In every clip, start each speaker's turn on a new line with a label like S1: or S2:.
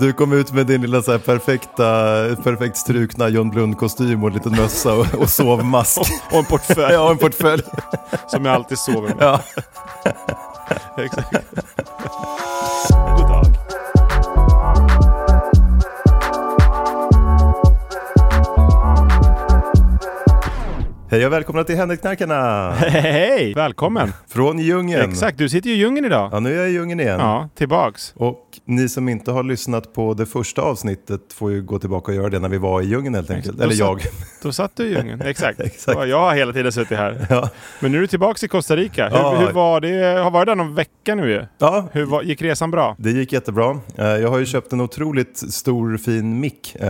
S1: Du kom ut med din lilla så här perfekta, perfekt strukna John Blund-kostym och en liten mössa och, och sovmask.
S2: Och en portfölj
S1: ja, och en portfölj.
S2: som jag alltid sover med.
S1: Ja.
S2: Exakt. God dag.
S1: Hej och välkomna till Henrikknarkarna
S2: Hej! Välkommen!
S1: från djungeln.
S2: Exakt, du sitter ju i djungeln idag.
S1: Ja, nu är jag i djungeln igen.
S2: Ja, tillbaks.
S1: Och ni som inte har lyssnat på det första avsnittet får ju gå tillbaka och göra det när vi var i djungeln helt enkelt. Eller jag.
S2: Då satt du i djungeln. Exakt.
S1: Exakt.
S2: Ja, Jag har hela tiden suttit här.
S1: Ja.
S2: Men nu är du tillbaks i Costa Rica. Hur,
S1: Ja.
S2: hur var det? Har varit där någon vecka nu ju.
S1: Ja,
S2: Hur var, gick resan bra?
S1: Det gick jättebra. Eh, Jag har ju köpt en otroligt stor fin mick eh,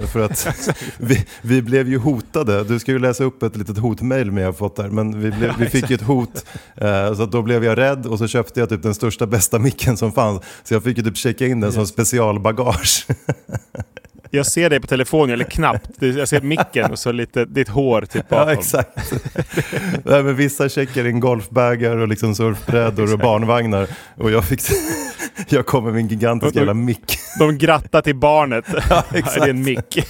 S1: för att vi, vi blev ju hotade. Du ska ju läsa upp ett litet hotmail med jag har fått där, men vi, blev, vi fick ju ett hot. eh, Så att då blev jag rädd och så köpte jag typ den största bästa micken som fanns. Så jag fick ju typ checka in den som specialbagage.
S2: Jag ser dig på telefonen, eller knappt. Det- Jag ser micken och så lite ditt hår typ bakom.
S1: Ja, exakt. Nej, men vissa checkar in golfbagar och liksom surfbrädor och barnvagnar. Och jag fick... Jag kom med min gigantiska jävla mick.
S2: De grattar till barnet. Ja,
S1: exakt.
S2: Det är en mick.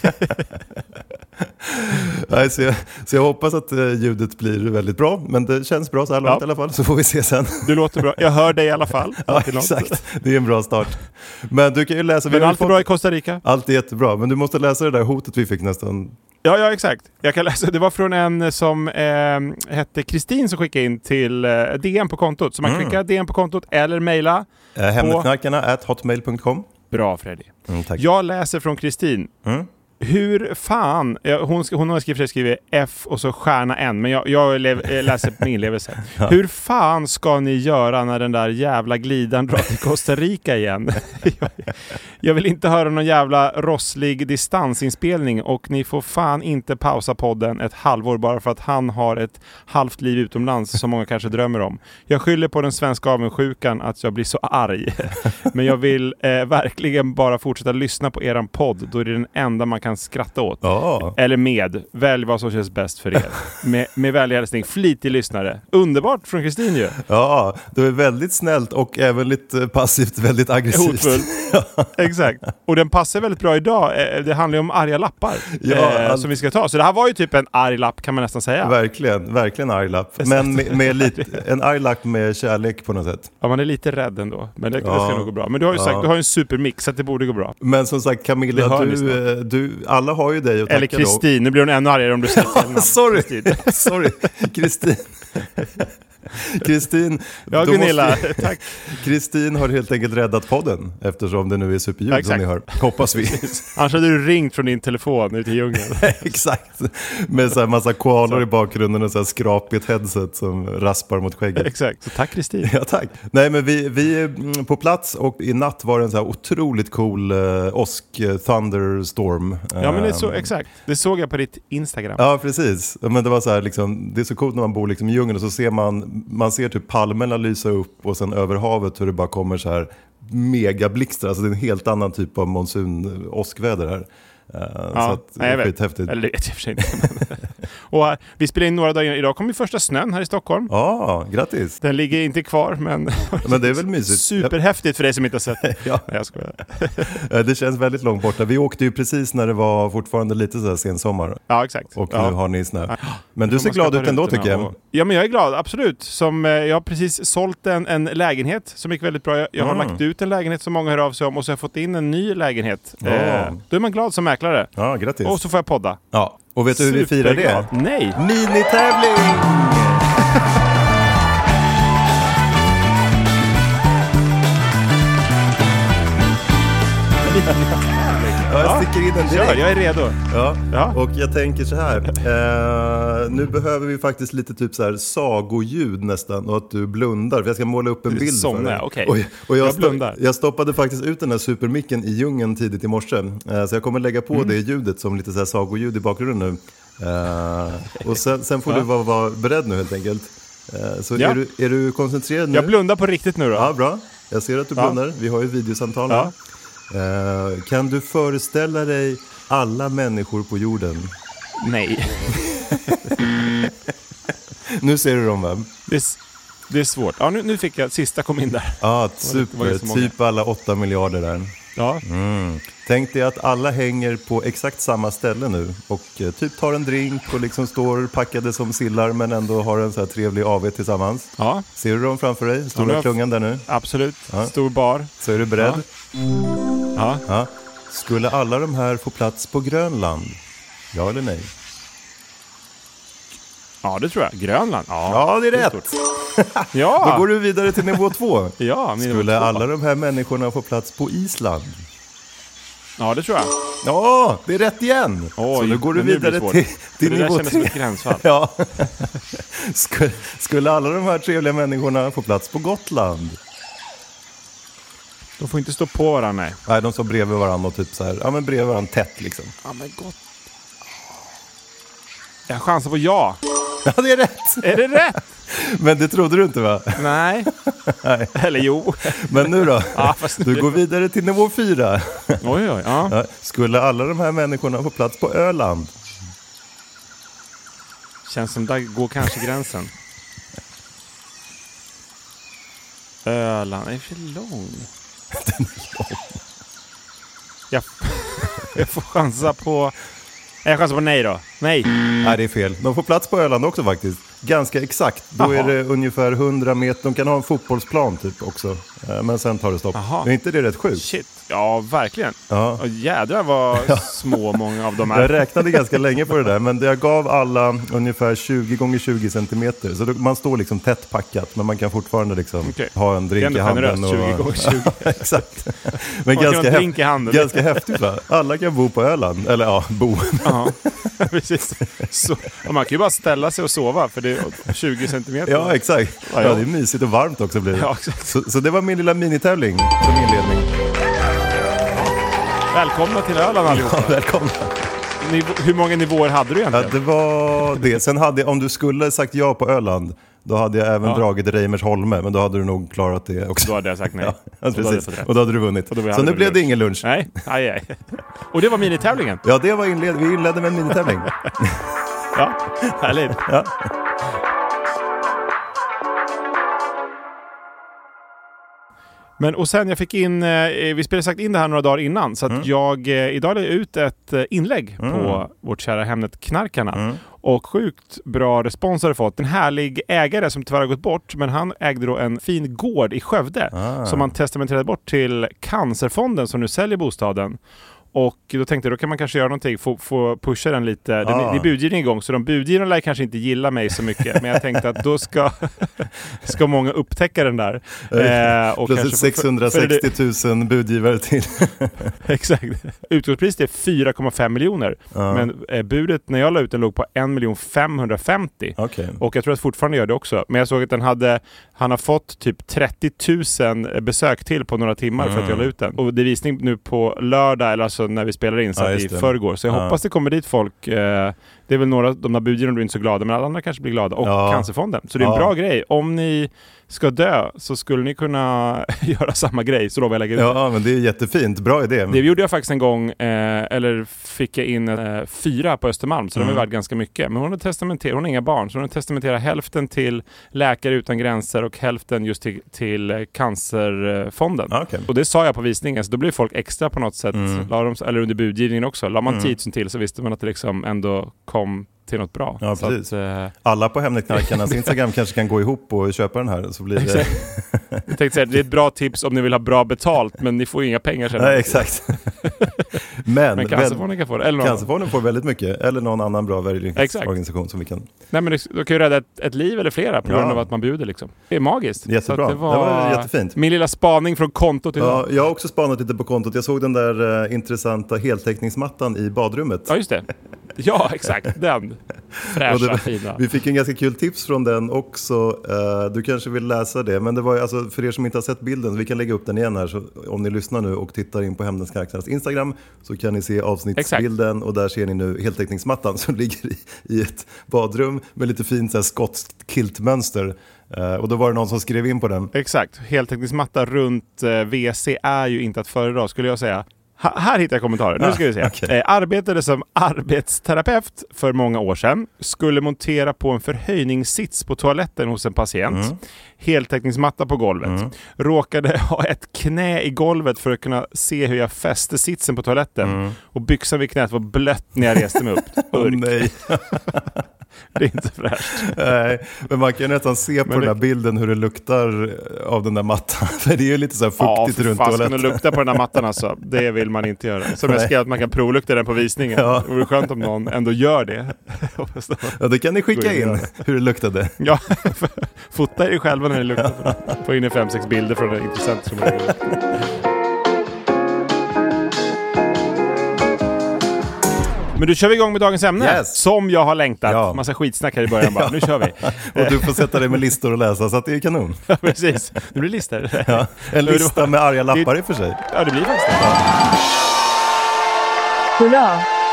S1: Nej, så, jag, så jag hoppas att eh, ljudet blir väldigt bra, men det känns bra så här långt
S2: Ja.
S1: i alla fall, så får vi se sen.
S2: Du låter bra. Jag hör dig i alla fall.
S1: Ja,
S2: Alltid något.
S1: exakt. Det är en bra start. Men du kan ju läsa... vi
S2: Men
S1: har ju
S2: allt är
S1: fått-
S2: bra i Costa Rica?
S1: Allt är jättebra, men du måste läsa det där hotet vi fick nästan.
S2: Ja, ja exakt. Jag kan läsa. Det var från en som eh, hette Kristin som skickade in till eh, DM på kontot. Så man kan skicka DM på kontot eller mejla.
S1: Eh, Hemnetknarkarna at hotmail.com.
S2: Bra Freddy.
S1: Mm, tack.
S2: Jag läser från Kristin.
S1: Mm.
S2: Hur fan, ja, hon, sk- hon har skrivit, skrivit F och så stjärna N, men jag, jag lev, eh, läser på min inlevelse. Hur fan ska ni göra när den där jävla glidan drar till Costa Rica igen? jag, jag vill inte höra någon jävla rosslig distansinspelning och ni får fan inte pausa podden ett halvår bara för att han har ett halvt liv utomlands som många kanske drömmer om. Jag skyller på den svenska avundsjukan att jag blir så arg. Men jag vill eh, verkligen bara fortsätta lyssna på eran podd, då är det den enda man kan skratta åt.
S1: Ja,
S2: Eller med. Välj vad som känns bäst för er. Med, med vänlig hälsning, flitig lyssnare. Underbart från Kristin ju.
S1: ja, du är väldigt snällt och även lite passivt väldigt aggressivt.
S2: Hotfull. Exakt. Och den passar väldigt bra idag. Eh, Det handlar ju om arga lappar
S1: Ja,
S2: eh,
S1: allt-
S2: som vi ska ta. Så det här var ju typ en arg lapp kan man nästan säga.
S1: Verkligen, verkligen arg lapp. Men med, med lite, en arg lapp med kärlek på något sätt.
S2: Ja, man är lite rädd ändå. Men det, det
S1: Ja.
S2: ska nog gå bra. Men du har ju sagt,
S1: Ja.
S2: du har ju en supermix så att det borde gå bra.
S1: Men som sagt
S2: Det
S1: Camilla,
S2: hör ni
S1: du, eh, du, alla har ju dig att
S2: Eller
S1: tacka då.
S2: Kristin, nu blir hon ännu argare om du säger fel namn.
S1: Sorry,
S2: Kristin.
S1: sorry, Kristin. Kristin,
S2: Ja,
S1: då måste-
S2: Gunilla. Tack.
S1: Kristin har helt enkelt räddat podden eftersom det nu är superljud
S2: Ja,
S1: som
S2: exakt.
S1: ni hör. Hoppas vi.
S2: Annars hade du ringt från din telefon ute i djungeln.
S1: Exakt. Med så här massa koalor i bakgrunden och så här skrapigt headset som raspar mot skägget.
S2: Exakt. Så tack Kristin.
S1: Ja, tack. Nej, men vi, vi är mm, på plats och i natt var det en så här otroligt cool eh, åsk eh, thunderstorm.
S2: Ja men det är
S1: Eh,
S2: så, exakt. Det såg jag på ditt Instagram.
S1: Ja, precis. Men det var så här, liksom, det är så coolt när man bor liksom i djungeln och så ser man, man ser typ palmerna lysa upp och sen över havet hur det bara kommer så här megablixtar. Alltså det är en helt annan typ av monsun eh, åskväder här. Eh,
S2: Ja,
S1: så att, det
S2: nej, jag
S1: är
S2: vet.
S1: skithäftigt.
S2: Eller det vet jag i och för sig inte. och här, vi spelar in några dagar innan. Idag kom ju första snön här i Stockholm.
S1: Ja, grattis.
S2: Den ligger inte kvar, men
S1: Men det är väl mysigt.
S2: superhäftigt för dig som inte har sett den.
S1: Ja.
S2: Nej, jag skojar.
S1: Eh, Det känns väldigt långt borta. Vi åkte ju precis när det var fortfarande lite så här sensommar.
S2: Ja, exakt.
S1: Och
S2: ja.
S1: nu har ni snö.
S2: Ja.
S1: Men du ser
S2: Man ska
S1: glad
S2: ta
S1: ut ändå
S2: rutorna
S1: tycker jag.
S2: och- Ja, men jag är glad, absolut. Som, eh, jag har precis sålt en, en lägenhet som gick väldigt bra. Jag, jag har
S1: Mm.
S2: lagt ut en lägenhet som många hör av sig om och så har jag fått in en ny lägenhet.
S1: Ja.
S2: Eh, då är man glad som mäklare.
S1: Ja, grattis.
S2: Och så får jag podda.
S1: ja. och vet du hur vi firar det?
S2: Superglad. Nej!
S1: Minitävling! Ja, jag sticker in den
S2: Kör,
S1: direkt.
S2: jag är redo.
S1: Ja.
S2: Ja.
S1: Och jag tänker så här. Eh, nu behöver vi faktiskt lite typ så här sagoljud nästan och att du blundar. För jag ska måla upp en
S2: Du
S1: bild
S2: somnar,
S1: för dig.
S2: okej.
S1: Och, och jag,
S2: Jag blundar.
S1: sto- jag stoppade faktiskt ut den här supermicken i djungeln tidigt i morse. Eh, så jag kommer lägga på
S2: Mm.
S1: det ljudet som lite så här sagoljud i bakgrunden nu. Eh, och sen, sen får du vara, vara beredd nu helt enkelt. Eh, så
S2: Ja.
S1: är, du, är du koncentrerad nu?
S2: Jag blundar på riktigt nu då.
S1: Mm. Ja, bra. Jag ser att du
S2: Ja.
S1: blundar. Vi har ju videosamtal
S2: Ja.
S1: här. Eh, kan du föreställa dig alla människor på jorden?
S2: Nej,
S1: Nu ser du dem, va?
S2: det är, s- det är svårt. Ja, nu, nu fick jag sista kom in där.
S1: Ja,
S2: det var ju
S1: super.
S2: så många.
S1: Typ alla åtta miljarder där.
S2: Ja,
S1: Tänk dig att alla hänger på exakt samma ställe nu och eh, typ tar en drink och liksom står packade som sillar men ändå har en så här trevlig AV tillsammans.
S2: ja
S1: Ser du dem framför dig?
S2: Ja, nu
S1: Stora
S2: har jag-
S1: klungan där nu.
S2: absolut. Stor bar.
S1: Så är du beredd?
S2: Ja.
S1: Ja. Skulle alla de här få plats på Grönland? Ja eller nej?
S2: ja, det tror jag. Grönland. Ja,
S1: Ja, det är rätt!
S2: ja.
S1: Då går du vidare till nivå två.
S2: ja min nummer
S1: Skulle
S2: två.
S1: alla de här människorna få plats på Island?
S2: Ja, det tror jag.
S1: Ja, det är rätt igen!
S2: Oj,
S1: så nu går du
S2: men nu blir det
S1: vidare
S2: svårt.
S1: till, till
S2: det där
S1: nivå
S2: kändes som
S1: tre.
S2: ett gränsfall.
S1: Ja. Skulle, skulle alla de här trevliga människorna få plats på Gotland?
S2: De får inte stå på varandra. Nej.
S1: Nej, de står bredvid varandra och typ så här, ja men bredvid varandra tätt liksom.
S2: Ja, men gott. Jag chansar på ja.
S1: Ja, det är rätt!
S2: Är det rätt?
S1: Men det trodde du inte va?
S2: Nej.
S1: Nej.
S2: Eller jo.
S1: Men nu då?
S2: Ja, fast nu-
S1: Du går vidare till nivå fyra.
S2: Oj, oj. Ja.
S1: Ja, Skulle alla de här människorna få plats på Öland?
S2: Känns som där går kanske gränsen. Öland är för lång. Den är lång. Jag, jag får chansa på... Nej, Jag chansar på nej då. Nej.
S1: Nej, det är fel. De får plats på Öland också faktiskt. Ganska exakt. Då
S2: Jaha.
S1: är det ungefär 100 meter. De kan ha en fotbollsplan typ också. Eh, Men sen tar det stopp.
S2: Jaha.
S1: Är inte det rätt sjukt?
S2: Shit. Ja, verkligen.
S1: Ja.
S2: Och jädrar vad små många av dem
S1: Jag
S2: är.
S1: räknade ganska länge på det där, men jag gav alla ungefär 20 gånger 20 centimeter. Så då- man står liksom tätt packat, men man kan fortfarande liksom
S2: Okej.
S1: ha en
S2: Det är
S1: drink i
S2: ändå
S1: handen.
S2: generöst, 20 gånger 20.
S1: Ja, Exakt. Men
S2: Man kan ha
S1: ganska,
S2: en
S1: häft-
S2: drink i handen.
S1: ganska häftigt va? Alla kan bo på Öland. Eller ja, bo.
S2: Ja, precis. Så, och man kan ju bara ställa sig och sova för det är 20 centimeter.
S1: Ja, exakt.
S2: Ja,
S1: Ja,
S2: ja.
S1: det är mysigt och varmt också blir det.
S2: Ja, exakt.
S1: Så, så det var min lilla minitävling som inledning.
S2: Välkomna till Öland allihopa.
S1: Ja, välkomna.
S2: Niv- hur många nivåer hade du
S1: Ja,
S2: egentligen?
S1: det var det. Sen hade jag, om du skulle sagt ja på Öland, då hade jag även
S2: Ja.
S1: dragit Reimersholme, men då hade du nog klarat det också.
S2: Då hade jag sagt nej.
S1: Ja,
S2: Och då hade jag
S1: precis.
S2: fått rätt.
S1: Och då hade du vunnit.
S2: då hade
S1: Så
S2: jag
S1: nu
S2: vunnit
S1: blev det
S2: lunch.
S1: ingen lunch.
S2: Nej, aj, aj. Och det var minitävlingen.
S1: Ja, det var inled vi inledde med en minitävling.
S2: Ja, härligt. Men och sen jag fick in, eh, vi spelade sagt in det här några dagar innan, så att jag, eh, idag la jag ut ett eh, inlägg på vårt kära Hemnet Knarkarna. Och sjukt bra respons har det fått. En härlig ägare som tyvärr har gått bort, men han ägde då en fin gård i Skövde som han testamenterade bort till Cancerfonden som nu säljer bostaden. Och då tänkte jag, då kan man kanske göra någonting, få, få pusha den lite. Det,
S1: Ah.
S2: det är budgivning igång, så de budgivarna lär kanske inte gilla mig så mycket. men jag tänkte att då ska, ska många upptäcka den där. Eh, och
S1: Plötsligt
S2: kanske få- för- för-
S1: 660 000 budgivare till.
S2: Exakt. Utgångspriset är 4,5 miljoner. Men eh, budet när jag la ut den låg på 1 550
S1: Okej.
S2: Och jag tror att fortfarande gör det också. Men jag såg att den hade, han har fått typ 30 000 besök till på några timmar för att jag la
S1: Mm.
S2: ut den. Och det är visning nu på lördag, eller alltså när vi spelar in, så
S1: Ja,
S2: att
S1: just
S2: i
S1: det.
S2: förrgår. Så jag
S1: Ja.
S2: hoppas det kommer dit folk eh, Det är väl några av de där budgivarna blir inte så glada, men alla andra kanske blir glada. Och
S1: Ja.
S2: Cancerfonden. Så det är en
S1: Ja.
S2: bra grej. Om ni ska dö så skulle ni kunna göra samma grej, så lovar jag lägga ut det.
S1: Ja, men det är jättefint. Bra idé.
S2: Det gjorde jag faktiskt en gång, eh, eller fick jag in eh, fyra på Östermalm, så
S1: Mm.
S2: de är värd ganska mycket. Men hon har, testamenter- hon har inga barn, så hon har testamenterat hälften till Läkare Utan Gränser och hälften just till, till eh, Cancerfonden.
S1: Ja, okej.
S2: Och det sa jag på visningen, så då blev folk extra på något sätt,
S1: Mm.
S2: la de, eller under budgivningen också. La man 10 000 till så visste man att det liksom ändå kom till något bra.
S1: Ja,
S2: så
S1: precis.
S2: att, eh,
S1: Alla på Hemnetknarkarnas Instagram kanske kan gå ihop och köpa den här. Så blir det...
S2: jag tänkte säga, det är ett bra tips om ni vill ha bra betalt, men ni får ju inga pengar sen.
S1: Nej, exakt. men
S2: men
S1: väl-
S2: Cancerfonden kan få det. Eller någon annan.
S1: Cancerfonden får väldigt mycket. Eller någon annan bra välgörenhetsorganisation som vi kan...
S2: Nej men det- du kan ju rädda ett, ett liv eller flera på
S1: Ja.
S2: grund av att man bjuder liksom. Det är magiskt.
S1: Jättebra.
S2: Så att
S1: Det var jättefint.
S2: Min lilla spaning från kontot idag.
S1: Ja, jag har också spanat lite på kontot. Jag såg den där eh, intressanta heltäckningsmattan i badrummet.
S2: Ja just det. Ja exakt, den.
S1: Och
S2: Fräscha,
S1: det,
S2: fina.
S1: vi fick en ganska kul tips från den också. Eh, Du kanske vill läsa det. Men det var ju, alltså, för er som inte har sett bilden, vi kan lägga upp den igen här. Så om ni lyssnar nu och tittar in på Hemnetsmarknadens Instagram så kan ni se avsnittsbilden och där ser ni nu heltäckningsmattan som ligger i, i ett badrum med lite fint så här, skotskt kiltmönster. Eh, Och då var det någon som skrev in på den.
S2: Exakt, heltäckningsmatta runt eh, WC är ju inte att föredra skulle jag säga. Ha, här hittar jag kommentarer. Nu ska vi se.
S1: okej.
S2: Eh, arbetade som arbetsterapeut för många år sedan. Skulle montera på en förhöjningssits på toaletten hos en patient. Heltäckningsmatta på golvet. Råkade ha ett knä i golvet för att kunna se hur jag fäste sitsen på toaletten. Och byxan vid knät var blött när jag reste mig upp.
S1: Åh,
S2: Urk,
S1: nej.
S2: det är inte fräscht.
S1: Nej, men man kan ju nästan se på
S2: Men det-
S1: den där bilden hur det luktar eh, av den där mattan. För det är ju lite så här fuktigt
S2: ja, för
S1: runt
S2: fan, ska
S1: toaletten.
S2: man lukta på den här mattan alltså. Det vill man inte göra. Som jag
S1: Nej.
S2: skrev att man kan provlukta den på visningen.
S1: Ja.
S2: Det vore skönt om någon ändå gör det.
S1: Ja, det kan ni skicka
S2: Gå in
S1: in
S2: där.
S1: hur det luktade.
S2: ja, fota er själva när ni luktar på den. Få in en fem, sex bilder från en intressent som lägger ut. Men du kör vi igång med dagens ämne.
S1: Yes.
S2: Som jag har längtat.
S1: Ja.
S2: Massa skitsnack här i början bara. Nu kör vi.
S1: Och du får sätta dig med listor och läsa, så att det är kanon.
S2: Precis. Nu blir det listor.
S1: Ja, en
S2: det var-
S1: lista med arga lappar i och för sig.
S2: Ja, det blir faktiskt det.
S3: Hurra!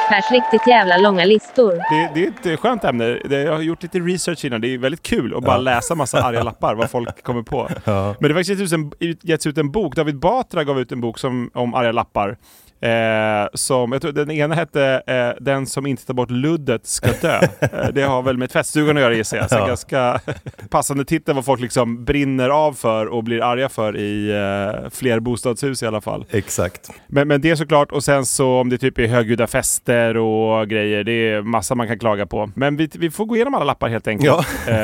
S3: Pers riktigt jävla långa listor.
S2: Det, det är ett skönt ämne. Det, jag har gjort lite research innan. Det är väldigt kul att bara läsa massa arga lappar, vad folk kommer på. Men det har faktiskt getts ut, en, getts ut en bok. David Batra gav ut en bok som, om arga lappar. Eh, som, jag tror den ena hette eh, Den som inte tar bort luddet ska dö. eh, det har väl med tvättstugan att göra gissar jag. Så en ganska passande titel vad folk liksom brinner av för och blir arga för i eh, flerbostadshus i alla fall.
S1: Exakt.
S2: Men, men det såklart, och sen så om det typ är högljudda fester och grejer, det är massa man kan klaga på. Men vi, vi får gå igenom alla lappar helt enkelt. Eh,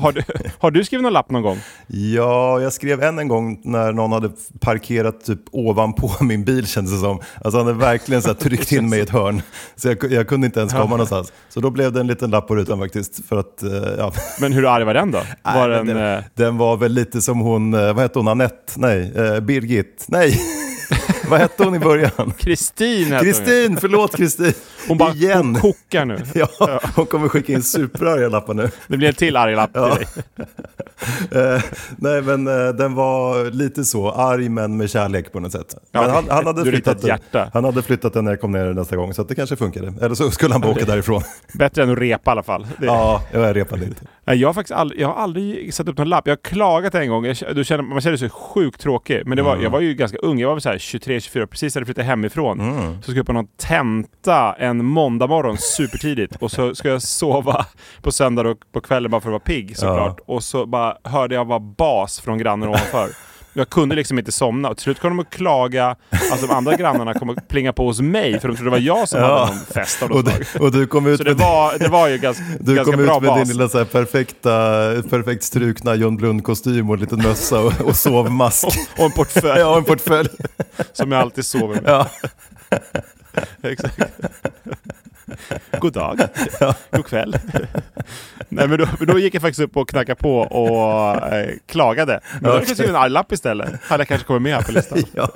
S2: har, du, har du skrivit någon lapp någon gång?
S1: Ja, jag skrev än en gång när någon hade parkerat typ ovanpå min bil kändes det som. Alltså han hade verkligen så här tryckt in mig i ett hörn. Så jag, jag kunde inte ens komma någonstans. Så då blev det en liten lapp på rutan faktiskt. För att, eh, ja.
S2: Men hur arg var den då? Var
S1: Nej,
S2: den,
S1: men
S2: eh,
S1: den, den var väl lite som hon, eh, vad hette hon, Anette? Nej, eh, Birgit. Nej, vad hette hon i början?
S2: Kristin hette hon ju.
S1: Kristin, förlåt Kristin.
S2: Hon bara
S1: Igen.
S2: hon kokar nu.
S1: Ja, hon kommer skicka in superarga lappar nu.
S2: Det blir en till arg lapp till
S1: Ja.
S2: dig.
S1: Eh, nej, men eh, den var lite så, arg men med kärlek på något sätt.
S2: Ja,
S1: men han, han, hade
S2: du ritar
S1: flyttat
S2: ett
S1: den,
S2: hjärta.
S1: han hade flyttat den när jag kom ner nästa gång, så att det kanske funkade. Eller så skulle han bara åka därifrån.
S2: Bättre än att repa i alla fall. Det,
S1: Ja, jag repade inte.
S2: Nej, Jag har faktiskt aldrig, jag har aldrig satt upp någon lapp. Jag har klagat en gång. Jag, k- då känner, man känner sig sjukt tråkig. Men det var, jag
S1: Mm.
S2: var ju ganska ung. Jag var väl så här 23-24, precis hade flyttat hemifrån.
S1: Mm.
S2: Så ska jag på någon tenta en måndag morgon supertidigt. Och så ska jag sova på söndag och på kvällen bara för att vara pigg såklart. Och så bara hörde jag bara bas från grannen ovanför. Jag kunde liksom inte somna och till slut kom de att klaga att de andra grannarna kom att plinga på hos mig för de trodde det var jag som hade någon fest av
S1: Och
S2: något slag.
S1: du, och du kom ut
S2: Så det
S1: med-
S2: var, det var ju ganska,
S1: Du
S2: ganska
S1: kom ut
S2: bra
S1: med
S2: bas.
S1: din lilla så här perfekta, perfekt strukna John Blund-kostym och en liten mössa och, och sovmask.
S2: Och en portfölj.
S1: ja, och en portfölj.
S2: Som jag alltid sover med.
S1: Ja.
S2: Exakt. God dag. God kväll. Nej, men då, men då gick jag faktiskt upp och knackade på och eh, klagade. Men då hade jag kanske skrivit en arg lapp istället. Hade jag kanske kommit med här på listan.
S1: Ja.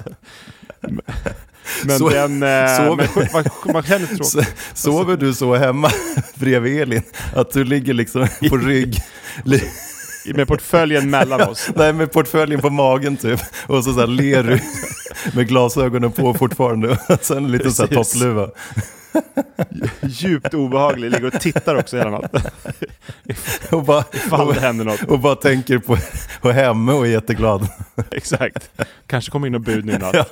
S2: Men
S1: Så-
S2: den... Eh,
S1: så-
S2: men, sj- man, man känner tråkigt.
S1: Så, sover du så hemma bredvid Elin? Att du ligger liksom på rygg, li,
S2: med portföljen mellan oss.
S1: nej med portföljen på magen typ, och så, så här ler du med glasögonen på fortfarande, och sen lite så här
S2: Precis.
S1: toppluva.
S2: Djupt obehaglig, ligger och tittar också hela natten.
S1: Och bara,
S2: Ifall det händer något.
S1: och, och bara tänker på och hemme och är jätteglad.
S2: Exakt. Kanske kommer in något bud nu i natt.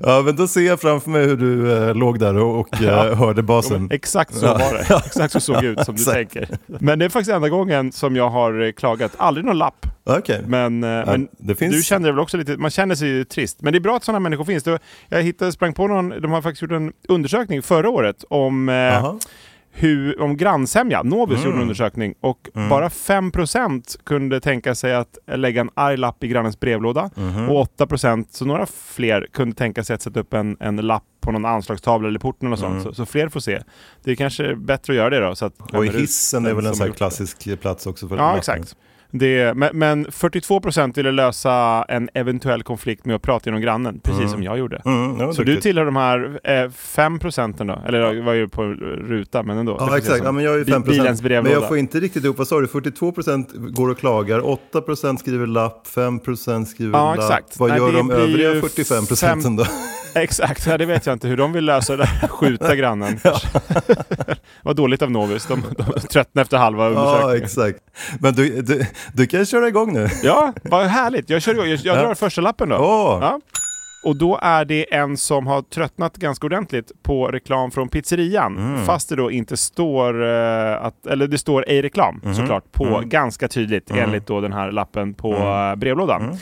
S1: Ja, men då ser jag framför mig hur du eh, låg där och, och eh, hörde basen.
S2: Exakt så var det. Exakt så såg det ut som du
S1: Mm. Exakt.
S2: tänker. Men det är faktiskt enda gången som jag har eh, klagat. Aldrig någon lapp.
S1: Okej.
S2: Men, eh, men
S1: det finns-
S2: du kände dig väl också lite, man känner sig ju trist. Men det är bra att sådana människor finns. Det var- Jag hittade, sprang på någon, de har faktiskt gjort en undersökning förra året om, eh,
S1: Jaha. Mm.
S2: hur, om grannsämja. Novus gjorde en undersökning och bara 5% kunde tänka sig att lägga en arg lapp i grannens brevlåda.
S1: Mhm.
S2: Och 8%, så några fler, kunde tänka sig att sätta upp en, en lapp på någon anslagstavla eller porten eller sånt.
S1: Mm.
S2: Så, så fler får se. Det är kanske bättre att göra det då. Så att
S1: Och i
S2: skämmer ut
S1: hissen är
S2: den
S1: väl en
S2: som
S1: sån
S2: har
S1: här
S2: gjort det.
S1: klassisk plats också för
S2: Ja,
S1: möten.
S2: exakt. Det, men, men 42 procent ville lösa en eventuell konflikt med att prata genom grannen, precis som jag gjorde.
S1: Mm, ja,
S2: Så du
S1: duktigt.
S2: tillhör de här eh, 5 procenten då? Eller jag var ju på ruta, men ändå. Det
S1: Ja,
S2: får ses
S1: exakt.
S2: som
S1: Ja, men jag är ju
S2: bi-
S1: 5
S2: liksom. Bilens
S1: Men
S2: brevlåda.
S1: jag får inte riktigt ihop, vad sa du, 42 procent går och klagar, 8 procent skriver lapp, 5 procent skriver
S2: Ja,
S1: lapp.
S2: exakt.
S1: Vad
S2: Nej,
S1: gör
S2: det
S1: de
S2: blir ju
S1: övriga 45 procenten då?
S2: Exakt, ja, det vet jag inte hur de vill lösa det. här. Skjuta grannen. Vad dåligt av Novus. De, de tröttnade efter halva
S1: Ja,
S2: undersökningen.
S1: exakt. Men du, du, du kan köra igång nu.
S2: Ja, vad härligt. Jag, kör, igång. jag, jag
S1: Ja.
S2: drar första lappen då.
S1: Åh.
S2: Ja. Och då är det en som har tröttnat ganska ordentligt på reklam från pizzerian. Fast det då inte står, eh, att, eller det står ej reklam såklart, på ganska tydligt enligt då den här lappen på eh, brevlådan.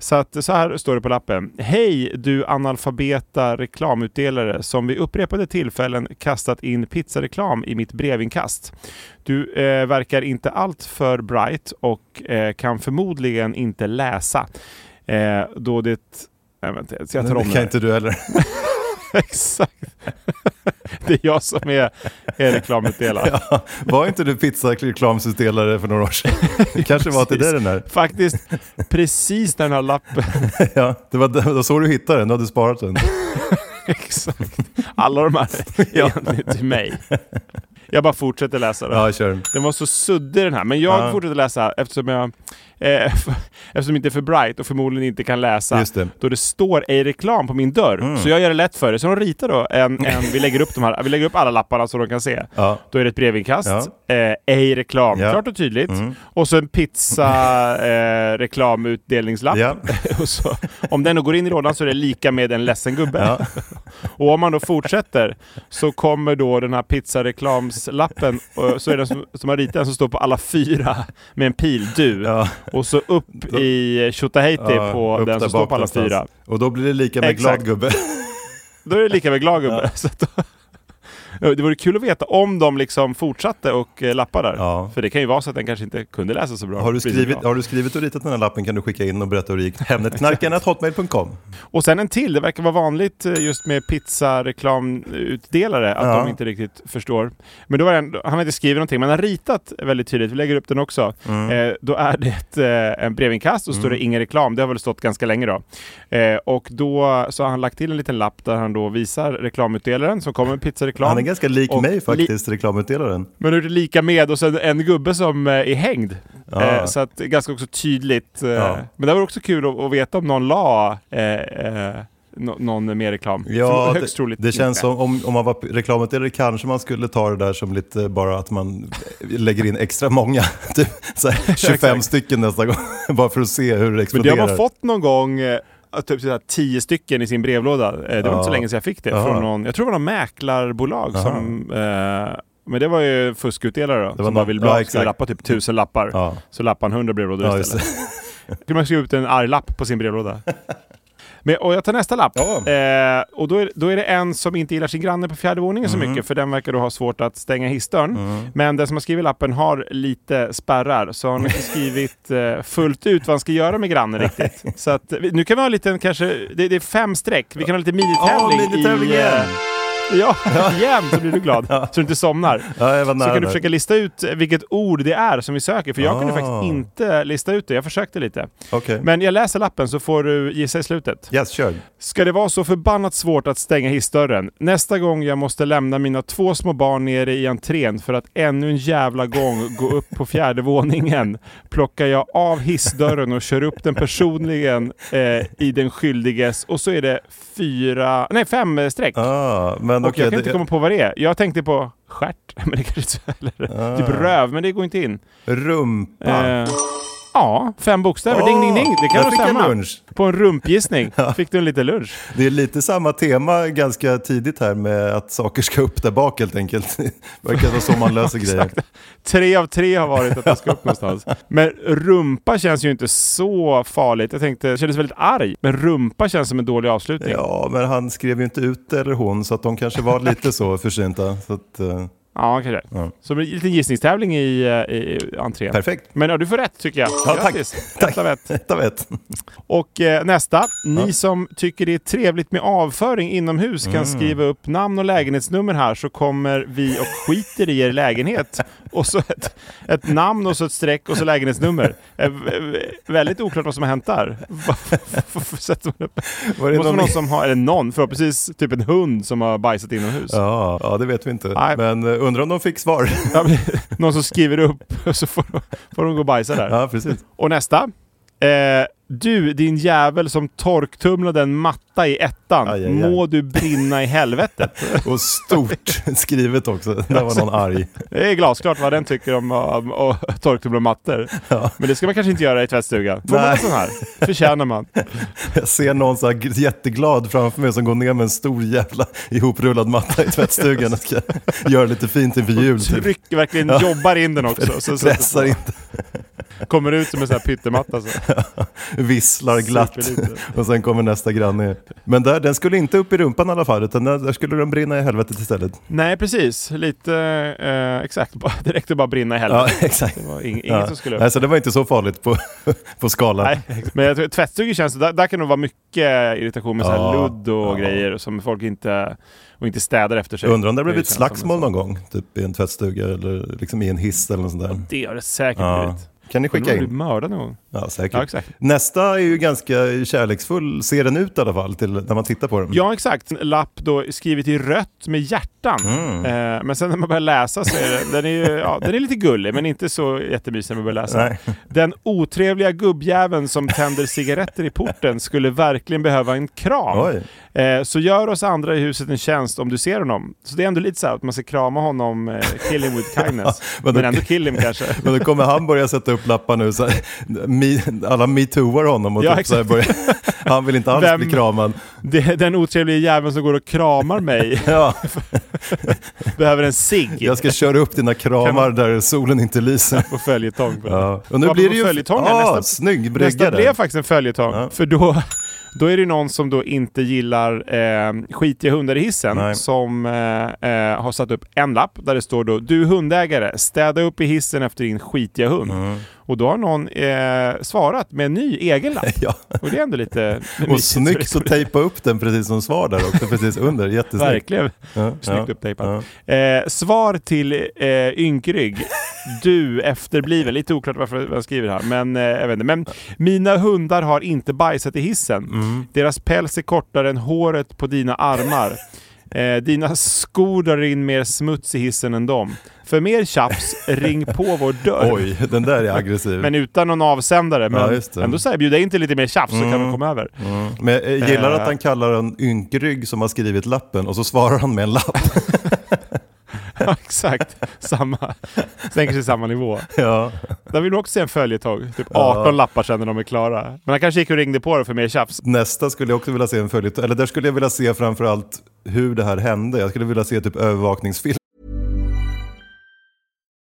S2: Så, att, så här står det på lappen. Hej du analfabeta reklamutdelare som vid upprepade tillfällen kastat in pizzareklam i mitt brevinkast. Du eh, verkar inte allt för bright och eh, kan förmodligen inte läsa. Eh, då det... Nej, vänta, jag tar om
S1: Det
S2: det
S1: kan
S2: här.
S1: inte du heller.
S2: Exakt. Det är jag som är, är reklamutdelare.
S1: Ja, var inte du pizzareklamsutdelare för några år sedan? Det kanske var till dig den där.
S2: Faktiskt precis när den här lappen
S1: Ja, det var, det var så du hittade den, du hade sparat den.
S2: Exakt. Alla de här är egentligen till mig. Jag bara fortsätter läsa. Då.
S1: Ja, kör.
S2: Den var så suddig den här, men jag
S1: Ja.
S2: fortsätter läsa eftersom jag eh, eftersom det inte är för bright och förmodligen inte kan läsa
S1: Just det. Mm.
S2: då det står ej reklam på min dörr. Så jag gör det lätt för det. Så de ritar då en, en vi, lägger upp de här, vi lägger upp alla lapparna så de kan se.
S1: Ja.
S2: Då är det ett brevinkast, eh, ej reklam,
S1: Ja. Mm.
S2: klart och tydligt. Och så en pizza eh, reklamutdelningslapp.
S1: Ja.
S2: Och så, om den då går in i lådan så är det lika med en ledsen gubbe.
S1: Ja.
S2: Och om man då fortsätter så kommer då den här pizzareklamslappen, och så är den som, som har ritat den som står på alla fyra med en pil, du.
S1: Ja.
S2: Och så upp i Tjotahejti
S1: Ja,
S2: på
S1: upp
S2: den
S1: där
S2: som står
S1: bak
S2: på alla
S1: någonstans.
S2: fyra.
S1: Och då blir det lika med
S2: Exakt.
S1: glad gubbe.
S2: Då är det lika med glad gubbe. Så att då- Ja, Det vore kul att veta om de liksom fortsatte och eh, lappade där.
S1: Ja.
S2: För det kan ju vara så att den kanske inte kunde läsa så bra.
S1: Har du,
S2: Precis
S1: skrivit,
S2: bra.
S1: har du skrivit och ritat den här lappen kan du skicka in och berätta hur det gick. Hemnetknarkarna.hotmail.com
S2: Och sen en till, det verkar vara vanligt eh, just med pizzareklamutdelare att
S1: Ja.
S2: de inte riktigt förstår. Men då var det en, han har inte skrivit någonting, men han har ritat väldigt tydligt, vi lägger upp den också.
S1: Mm.
S2: Eh, då är det ett eh, en brevinkast och så står det ingen reklam, det har väl stått ganska länge då. Eh, och då så har han lagt till en liten lapp där han då visar reklamutdelaren som kommer med pizzareklam.
S1: Han är ganska lik
S2: Och
S1: mig
S2: li-
S1: faktiskt, reklamutdelaren.
S2: Men nu är det lika med och sen en gubbe som eh, är hängd.
S1: Ja.
S2: Eh, så att det är ganska också tydligt. Eh,
S1: Ja.
S2: Men det var också kul att, att veta om någon la eh, eh, nå- någon mer reklam.
S1: Ja,
S2: För högst
S1: det,
S2: troligt
S1: det känns
S2: inte.
S1: som om, om man var reklamutdelare kanske man skulle ta det där som lite bara att man lägger in extra många, typ så här 25
S2: Exakt.
S1: stycken nästa gång, bara för att se hur det
S2: Men det
S1: exploderar.
S2: har man fått någon gång, eh, typ sådär tio stycken i sin brevlåda. Eh, det var inte så länge sedan jag fick det.
S1: Jaha.
S2: Från någon, jag tror det var någon mäklarbolag som... Eh, men det var ju fuskutdelare då,
S1: var
S2: som
S1: någon-
S2: bara ville
S1: ja,
S2: bra,
S1: exakt.
S2: skulle lappa typ tusen lappar.
S1: Ja.
S2: Så lappade han hundra brevlådor
S1: Ja, just
S2: istället. skulle man skriva ut en arg lapp på sin brevlåda. Men, och jag tar nästa lapp.
S1: Ja.
S2: Eh, och då är, då är det en som inte gillar sin granne på fjärde våningen
S1: Mm.
S2: så mycket, för den verkar då ha svårt att stänga hissdörren. Men den som har skrivit lappen har lite spärrar, så han har inte skrivit eh, fullt ut vad han ska göra med grannen riktigt. Så att, eh, vi- nu kan vi ha en liten, kanske, det, det är fem streck, vi kan ha lite minitävling.
S1: Ja, minitävling
S2: i, eh,
S1: igen.
S2: Ja, igen så blir du glad. Så du inte somnar.
S1: Ja, jag var
S2: Så
S1: nära
S2: kan du
S1: där.
S2: försöka lista ut vilket ord det är som vi söker, för jag kunde
S1: Ah.
S2: faktiskt inte lista ut det. Jag försökte lite.
S1: Okej.
S2: Men jag läser lappen så får du gissa i slutet.
S1: Yes, kör.
S2: Ska det vara så förbannat svårt att stänga hissdörren? Nästa gång jag måste lämna mina två små barn nere i entrén för att ännu en jävla gång gå upp på fjärde våningen plockar jag av hissdörren och kör upp den personligen eh, i den skyldiges och så är det fyra, nej fem eh, streck.
S1: Ah, men Men
S2: och
S1: okej,
S2: jag kan inte
S1: det-
S2: komma på vad det är. Jag tänkte på stjärt, men det kanske inte så heller.
S1: Ah.
S2: Typ röv, men det går inte in.
S1: Rumpa.
S2: Eh, ja, fem bokstäver. Ding, ding, ding. Det
S1: Där
S2: kan nog
S1: fick jag
S2: stämma.
S1: lunch.
S2: På en rumpgissning fick du en liten lunch.
S1: Det är lite samma tema ganska tidigt här med att saker ska upp där bak helt enkelt. Det Verkar vara så man löser grejer.
S2: Tre av tre har varit att jag ska upp någonstans. Men rumpa känns ju inte så farligt. Jag tänkte, jag kändes väldigt arg. Men rumpa känns som en dålig avslutning. Ja,
S1: Ja, men han skrev ju inte ut det, eller hon, så att de kanske var lite så försynta. Så att, eh,
S2: kanske.
S1: Ja.
S2: Som en liten gissningstävling i, eh, i entrén.
S1: perfekt.
S2: Men ja, du får rätt tycker jag.
S1: Ja, tack.
S2: Grattis.
S1: Tack.
S2: Ett av ett.
S1: Ett av ett.
S2: Och eh, nästa. Ni
S1: Ja. Mm.
S2: som tycker det är trevligt med avföring inomhus kan skriva upp namn och lägenhetsnummer här så kommer vi och skiter i er lägenhet. Och så ett, ett namn och så ett streck och så lägenhetsnummer. Eh, v- väldigt oklart vad som har hänt där. Varför sätter man upp?
S1: Var
S2: Det
S1: det
S2: måste vara
S1: någon-
S2: någon som har, eller någon, förhoppningsvis typ en hund som har bajsat inomhus.
S1: Ja, ja, det vet vi inte.
S2: Nej.
S1: Men eh, undrar om de fick svar.
S2: Ja, men- någon som skriver upp och så får de, får de gå och bajsa där.
S1: Ja, precis.
S2: Och nästa. Eh, du, din jävel som torktumlade en matta i ettan.
S1: Aj, aj, aj.
S2: Må du brinna i helvetet.
S1: Och stort skrivet också. Där var någon arg.
S2: Det är glasklart vad den tycker om om- om torktumla och mattor.
S1: Ja.
S2: Men det ska man kanske inte göra i tvättstugan. Får man
S1: Nej.
S2: en sån här? Förtjänar man.
S1: Jag ser någon så här g- jätteglad framför mig som går ner med en stor jävla ihoprullad matta i tvättstugan och ska göra lite fint inför jul. Typ.
S2: Tryck, verkligen
S1: Ja.
S2: jobbar in den också. Så, så,
S1: Pressar inte,
S2: kommer ut som en sån här pyttematta. Så.
S1: visslar glatt.
S2: Superlite.
S1: Och sen kommer nästa granne. Men där, den skulle inte upp i rumpan i alla fall, utan där, där skulle den brinna i helvetet istället.
S2: Nej, precis. Lite eh, exakt. Bara- Direkt och bara brinna i
S1: Ja,
S2: helvetet.
S1: exakt.
S2: Det var ing, inget
S1: Ja.
S2: som skulle upp.
S1: Nej, så det var inte så farligt på, på skalan.
S2: Nej, exakt. men jag tror, tvättstugor känns där, där kan det vara mycket irritation med så här
S1: Ja,
S2: ludd och
S1: ja.
S2: grejer som folk inte, och inte städar efter sig.
S1: Jag undrar om det har blivit
S2: känns
S1: slagsmål
S2: som en
S1: någon gång, typ i en tvättstuga eller liksom i en hiss eller något sånt där.
S2: sån- Det har det säkert
S1: Ja. Mm.
S2: blivit.
S1: Kan ni
S2: Skicka
S1: skicka
S2: in. Blivit
S1: in?
S2: mördad någon gång.
S1: Ja,
S2: Ja,
S1: säkert.
S2: exakt.
S1: Nästa är ju ganska kärleksfull, ser den ut i alla fall, till, när man tittar på den.
S2: Ja, exakt. En lapp då skrivet i rött med hjärtan.
S1: Mm.
S2: Eh, men sen när man börjar läsa så är det, den, är ju, ja, den är lite gullig, men inte så jättemysig när man börjar läsa.
S1: Nej.
S2: Den otrevliga gubbjäveln som tänder cigaretter i porten skulle verkligen behöva en kram.
S1: Oj.
S2: Eh, så gör oss andra i huset en tjänst om du ser honom. Så det är ändå lite så här att man ska krama honom, eh, kill him with kindness.
S1: men
S2: men,
S1: då-
S2: ändå kill him kanske.
S1: Men då kommer han börja sätta upp lappar nu, så här, me, alla metooar honom och
S2: Ja,
S1: typ så här
S2: exakt.
S1: börjar, han vill inte alls
S2: Vem-
S1: bli kramad.
S2: Det är den otrevliga jäveln som går och kramar mig
S1: Ja,
S2: behöver en cigg
S1: jag ska köra upp dina kramar där solen inte lyser.
S2: på följetong.
S1: Ja. Och nu
S2: Apropå
S1: blir det ju...
S2: följetong här,
S1: ja,
S2: nästa-
S1: snygg brygga
S2: Nästa blev
S1: där.
S2: faktiskt en följetong.
S1: Ja.
S2: För då, då är det någon som då inte gillar eh, skitiga hundar i hissen
S1: Nej.
S2: som eh, eh, har satt upp en lapp där det står då Du hundägare, städa upp i hissen efter din skitiga hund. Och då har någon eh, svarat med en ny egen lapp.
S1: Ja.
S2: Och det är ändå lite
S1: Och
S2: mysigt.
S1: snyggt att tejpa upp den precis som svar där också, precis under. Jättesnyggt.
S2: Verkligen.
S1: Ja,
S2: Snyggt
S1: ja,
S2: upptejpat. Eh, svar till eh, Ynkrygg. Du efterbliven. Lite oklart varför jag skriver här, men eh, jag vet inte. Men mina hundar har inte bajsat i hissen.
S1: Mm.
S2: Deras päls är kortare än håret på dina armar. Eh, dina skor drar in mer smuts i hissen än dem. För mer tjafs, ring på vår dörr.
S1: Oj, den där är aggressiv.
S2: Men utan någon avsändare. Men
S1: Ja, just det. Mm.
S2: ändå så här, bjuda in till lite mer tjafs så kan de komma över.
S1: Men jag eh, gillar
S2: Eh.
S1: att han kallar en ynkrygg som har skrivit lappen och så svarar han med en lapp.
S2: Ja, exakt. Samma. Sänker sig samma nivå.
S1: Ja.
S2: Där vill du också se en följetong. Typ 18 lappar sen när de är klara. Men han kanske gick och ringde på det för mer tjafs.
S1: Nästa skulle jag också vilja se en följetong, eller där skulle jag vilja se framförallt hur det här hände. Jag skulle vilja se typ övervakningsfilm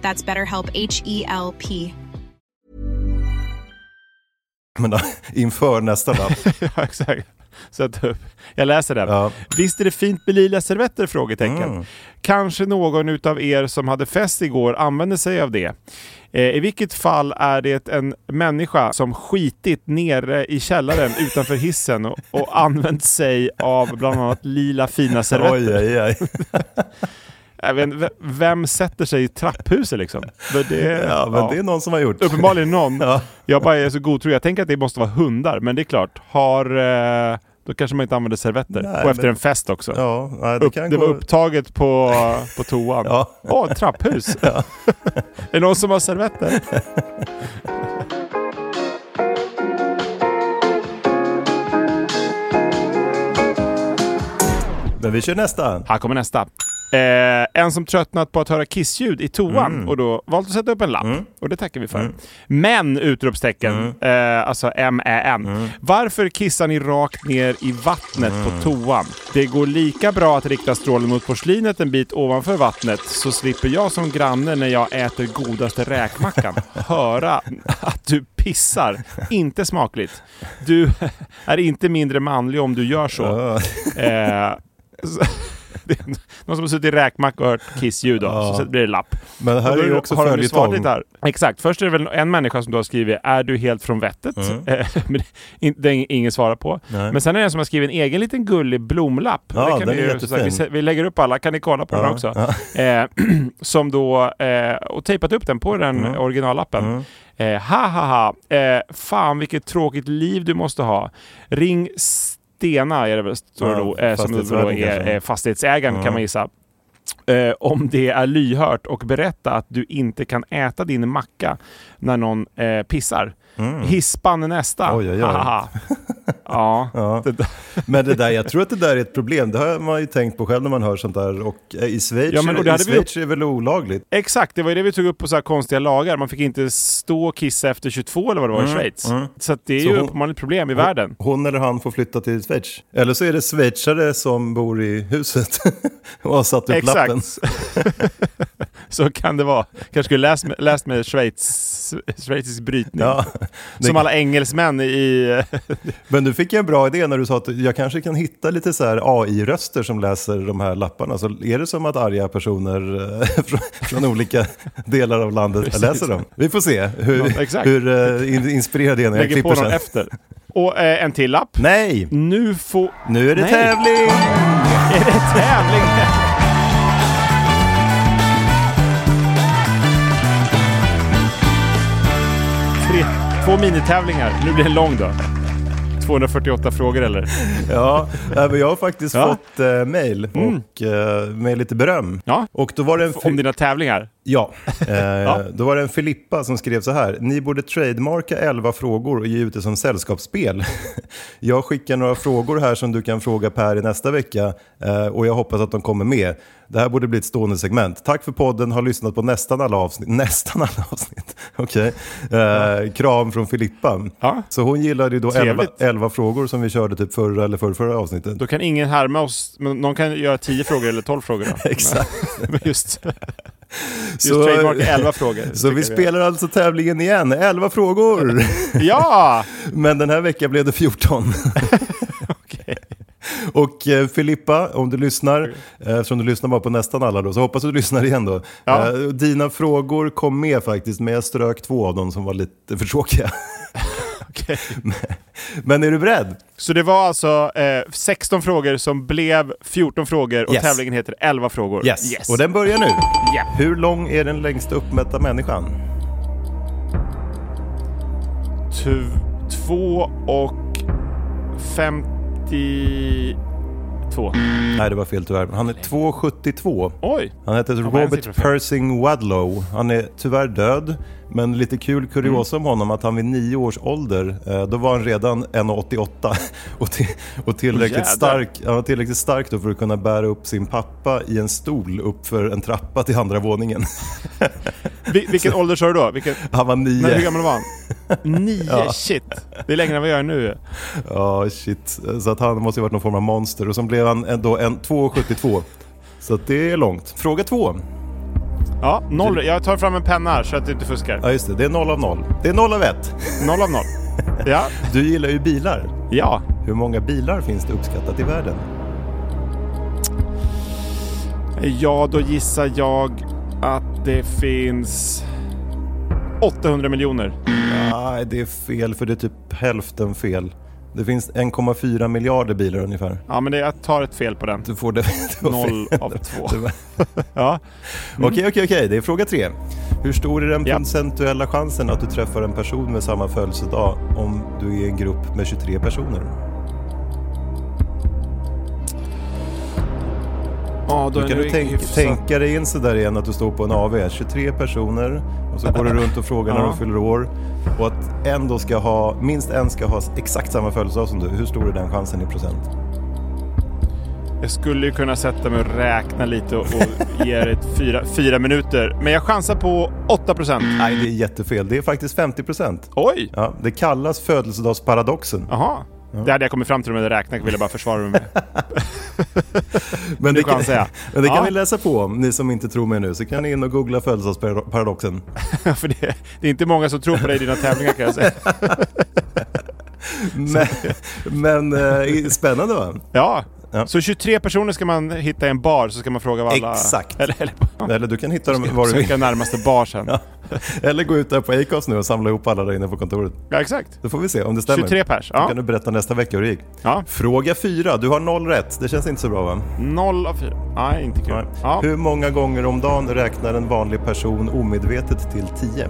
S4: That's BetterHelp H E L P.
S1: Men, då, inför nästa lapp.
S2: ja, exakt. Så att, eh, jag läser den.
S1: Ja. Mm.
S2: Visst är det fint med lila servetter? Frågetecken. Kanske någon utav er som hade fest igår använde sig av det. Eh, I vilket fall är det en människa som skitit nere i källaren utanför hissen och, och använt sig av bland annat lila fina servetter.
S1: Oj, oj, oj.
S2: Jag vet, inte, v- vem sätter sig i trapphuset liksom? Men det,
S1: Ja, men det är någon som har gjort.
S2: Uppenbarligen någon.
S1: Ja.
S2: Jag bara är så godtrogen. Jag tänker att det måste vara hundar, men det är klart. Har, eh, då kanske man inte använder servetter.
S1: Nej,
S2: och efter
S1: men-
S2: en fest också.
S1: Ja, nej, det
S2: Upp,
S1: kan
S2: det
S1: gå.
S2: var upptaget på, på toan. Åh,
S1: Ja.
S2: ett trapphus! är det någon som har servetter?
S1: Men vi kör nästa.
S2: Här kommer nästa. Eh, en som tröttnat på att höra kissljud i toan och då valt att sätta upp en lapp. Och det tackar vi för. Men! Utropstecken. Eh, alltså M-E-N. Varför kissar ni rakt ner i vattnet på toan? Det går lika bra att rikta strålen mot porslinet en bit ovanför vattnet så slipper jag som granne när jag äter godaste räkmackan höra att du pissar. Inte smakligt. Du är inte mindre manlig om du gör så.
S1: Ja.
S2: Eh, så- det är någon som har suttit i räkmacka och hört kissljud då, så blir det lapp.
S1: Men här
S2: Och då
S1: är ju också
S2: har de svarat
S1: följetong.
S2: lite här. Exakt, först är det väl en människa som då har skrivit “Är du helt från vettet?” Eh, men det- in- det är ingen svarar på.
S1: Mm. Nej.
S2: Men sen är det en som har skrivit en egen liten gullig blomlapp.
S1: Ja,
S2: kan
S1: den
S2: vi,
S1: är
S2: ju- som sagt, vi,
S1: jättefin.
S2: sä- vi lägger upp alla, kan ni kolla på den också? Eh, som då, eh, och tejpat upp den på den
S1: Mm.
S2: originallappen. Eh, ha ha ha, eh, fan vilket tråkigt liv du måste ha. Ring Stena är det väl, står det
S1: Ja,
S2: då, eh, som då
S1: fastighetsvärden
S2: är
S1: kanske. Mm.
S2: eh, fastighetsägaren kan man gissa. Eh, om det är lyhört och berätta att du inte kan äta din macka när någon eh, pissar. Hispan är nästa.
S1: Mm. Oj, oj, oj.
S2: Hahaha. ja.
S1: Ja.
S2: Det där-
S1: Men det där, jag tror att det där är ett problem. Det har man ju tänkt på själv när man hör sånt där. Och eh, i Schweiz,
S2: Ja, men- och det
S1: i
S2: hade vi
S1: Schweiz är det väl olagligt?
S2: Exakt, det var ju det vi tog upp på så här konstiga lagar. Man fick inte stå och kissa efter 22 eller vad det var i Schweiz. Så att det är
S1: Mm, Så
S2: ju
S1: hon-
S2: uppenbarligen ett problem i världen.
S1: Hon eller han får flytta till Schweiz. Eller så är det schweizare som bor i huset och har satt upp lappen.
S2: Exakt. så kan det vara. Kanske skulle läst med, läst med Schweiz, schweizisk brytning.
S1: Ja.
S2: Som alla engelsmän i...
S1: Men du fick ju en bra idé när du sa att jag kanske kan hitta lite så här AI-röster som läser de här lapparna. Så är det som att arga personer eh, från- från olika delar av landet läser dem. Vi får se
S2: Ja,
S1: hur,
S2: exakt.
S1: hur eh, in- inspirerad jag är när jag
S2: lägger på
S1: klipper
S2: dem
S1: sen.
S2: efter. Och eh, en till lapp.
S1: Nej,
S2: Nu får...
S1: nu är det
S2: Nej.
S1: tävling!
S2: Är det tävling? Tre, två minitävlingar. Nu blir det en lång då. 248 frågor eller?
S1: Ja, nej, men jag har faktiskt
S2: Ja. Mm.
S1: fått eh, mail och, eh, med lite beröm.
S2: Ja.
S1: Och då var det en...
S2: Om dina tävlingar.
S1: Ja, eh, då var det en Filippa som skrev så här. Ni borde trademarka 11 frågor och ge ut det som sällskapsspel. jag skickar några frågor här som du kan fråga Per i nästa vecka eh, och jag hoppas att de kommer med. Det här borde bli ett stående segment. Tack för podden, har lyssnat på nästan alla avsnitt. Nästan alla avsnitt, okej. Eh, Kram från Filippa.
S2: Ja.
S1: Så hon gillade ju då 11,
S2: Trevligt.
S1: 11 frågor som vi körde typ förra eller förra, förra avsnittet.
S2: Då kan ingen härma oss. Men någon kan göra 10 frågor eller 12 frågor. Då.
S1: Exakt.
S2: Men just just
S1: Så-
S2: trademark är 11 frågor.
S1: Så vi
S2: tycker jag.
S1: spelar alltså tävlingen igen, 11 frågor!
S2: Ja!
S1: Men den här veckan blev det 14.
S2: Okej.
S1: Och eh, Filippa, om du lyssnar, eh, eftersom du lyssnar bara på nästan alla då, så hoppas du lyssnar igen då.
S2: Ja.
S1: Eh, dina frågor kom med faktiskt, men jag strök två av dem som var lite för tråkiga.
S2: Okej.
S1: Men är du beredd?
S2: Så det var alltså eh, 16 frågor som blev 14 frågor och
S1: Yes.
S2: tävlingen heter 11 frågor.
S1: Och den börjar nu.
S2: Ja.
S1: Hur lång är den längsta uppmätta människan?
S2: Tu- två och 52.
S1: Nej, det var fel tyvärr. Han är 2,72.
S2: Oj!
S1: Han heter
S2: var en
S1: Robert
S2: siffra fel.
S1: Persing Wadlow. Han är tyvärr död, men lite kul kuriosa
S2: Mm.
S1: om honom att han vid nio års ålder, eh, då var han redan 1,88 och, till, och tillräckligt,
S2: Jädrar.
S1: stark, han var tillräckligt stark då för att kunna bära upp sin pappa i en stol uppför en trappa till andra våningen.
S2: Vi, vilken ålder sa du då? Vilken,
S1: Han var
S2: när, hur
S1: nio.
S2: gammal var han? Nio? Shit! Det är längre än vad jag är nu.
S1: Ja, shit. Så att han måste ju varit någon form av monster. Och sen blev han en- då en 2,72. Så att det är långt. Fråga två.
S2: Ja, noll. Jag tar fram en penna här så att du inte fuskar.
S1: Ja, just det. Det är noll av noll. Det är noll av ett.
S2: Noll av noll. Ja.
S1: Du gillar ju bilar.
S2: Ja.
S1: Hur många bilar finns det uppskattat i världen?
S2: Ja, då gissar jag att det finns 800 miljoner.
S1: Nej, det är fel för det är typ hälften fel. Det finns 1,4 miljarder bilar ungefär.
S2: Ja, men det, jag tar ett fel på den.
S1: Du får det. du får
S2: Noll
S1: fel.
S2: av två.
S1: Tyvärr.
S2: Ja.
S1: Okej, okej, okej. Det är fråga tre. Hur stor är den
S2: Ja.
S1: procentuella chansen att du träffar en person med samma födelsedag om du är i en grupp med 23 personer?
S2: ja då
S1: Då kan du tänk, tänka dig in sådär igen att du står på en AV, 23 personer och så går du runt och frågar när
S2: Ja.
S1: de fyller år och att en då ska ha, minst en ska ha exakt samma födelsedag som du. Hur stor är den chansen i procent?
S2: Jag skulle ju kunna sätta mig och räkna lite och, och ge det ett fyra, fyra minuter. Men jag chansar på 8 procent.
S1: Nej, det är jättefel. Det är faktiskt 50 procent.
S2: Oj!
S1: Ja, det kallas födelsedagsparadoxen.
S2: Jaha. Det hade jag kommit fram till med att räkna, ville jag bara försvara mig med.
S1: Men
S2: nu
S1: det kan,
S2: chansar jag.
S1: men det kan
S2: Ja.
S1: ni läsa på om, ni som inte tror mig nu. Så kan ni in och googla födelsedagsparadoxen.
S2: För det, det är inte många som tror på dig i dina tävlingar kan jag säga.
S1: Men, men eh, spännande va?
S2: Ja.
S1: Ja.
S2: Så 23 personer ska man hitta i en bar så ska man fråga vad alla...
S1: Exakt.
S2: Eller, eller,
S1: Eller du kan hitta dem var du
S2: söka
S1: vill.
S2: närmaste bar sen. Ja,
S1: Eller gå ut där på Acast nu och samla ihop alla där inne på kontoret.
S2: exakt.
S1: Då får vi se om det stämmer.
S2: 23 pers, ja.
S1: Då kan du berätta nästa vecka hur det gick.
S2: Ja.
S1: Fråga 4. Du har noll rätt. Det känns inte så bra va?
S2: Noll av fyra. Nej, inte kul.
S1: Nej.
S2: Ja.
S1: Hur många gånger om dagen räknar en vanlig person omedvetet till 10?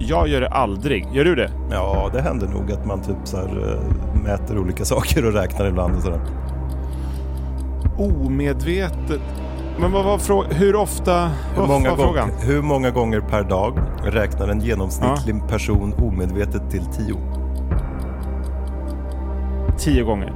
S2: Jag gör det aldrig. Gör du det?
S1: Ja, det händer nog att man typ så här, eh, mäter olika saker och räknar ibland och sådär.
S2: Omedvetet. Men vad var frågan? Hur ofta?
S1: Hur
S2: vad
S1: många,
S2: var frågan?
S1: gång, hur många gånger per dag räknar en genomsnittlig person omedvetet till 10?
S2: Tio gånger.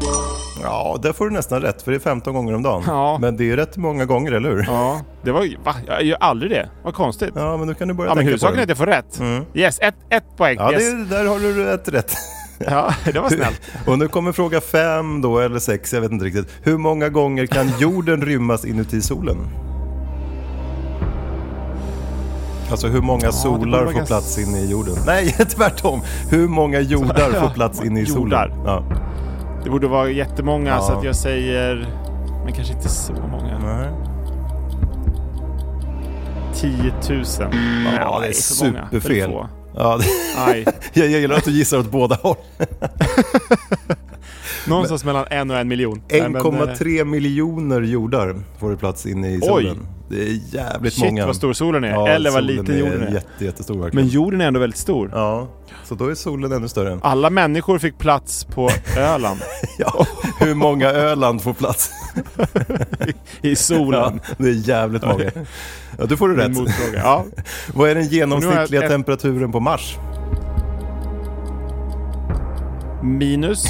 S1: Ja, där får du nästan rätt för det är 15 gånger om dagen.
S2: Ja.
S1: Men det är ju rätt många gånger, eller hur?
S2: Ja, det var ju... Va? Jag gör aldrig det. Vad konstigt. Ja,
S1: Ja, men nu kan du börja
S2: men
S1: tänka på
S2: huvudsaken är
S1: det. Mm.
S2: att jag får rätt. Yes, ett, ett poäng.
S1: Ja,
S2: yes.
S1: det, där har du ett rätt.
S2: ja, det var snällt.
S1: Och nu kommer fråga fem då, eller sex, jag vet inte riktigt. Hur många gånger kan jorden rymmas inuti solen? Alltså hur många solar
S2: vara
S1: får
S2: ganska-
S1: plats in i jorden? Nej, tvärtom! Hur många jordar får plats in i solen?
S2: Jordar.
S1: Ja.
S2: Det borde vara jättemånga så
S1: Ja.
S2: att jag säger... Men kanske inte så många.
S1: Nej.
S2: 10 000. Ja,
S1: Ja, det är
S2: för många. För
S1: superfel.
S2: få.
S1: Ja, det,
S2: Nej,
S1: jag gillar att du gissar åt båda håll.
S2: någonstans mellan en och en miljon. Nej, men, eh,
S1: 1,3 miljoner jordar får det plats in i solen. Det är jävligt
S2: eh, Shit,
S1: många.
S2: vad stor solen är. Eller vad
S1: solen
S2: liten jorden är.
S1: Jätte, jättestor verkligen.
S2: Men jorden är ändå väldigt stor.
S1: Ja, så då är solen ännu större.
S2: Alla människor fick plats på Öland.
S1: Ja. Hur många Öland får plats?
S2: I solen.
S1: Ja, det är jävligt många. Ja, du får du
S2: Min
S1: rätt.
S2: motfråga. Ja.
S1: Vad är den
S2: Och nu har
S1: genomsnittliga
S2: jag-
S1: temperaturen på Mars?
S2: Minus.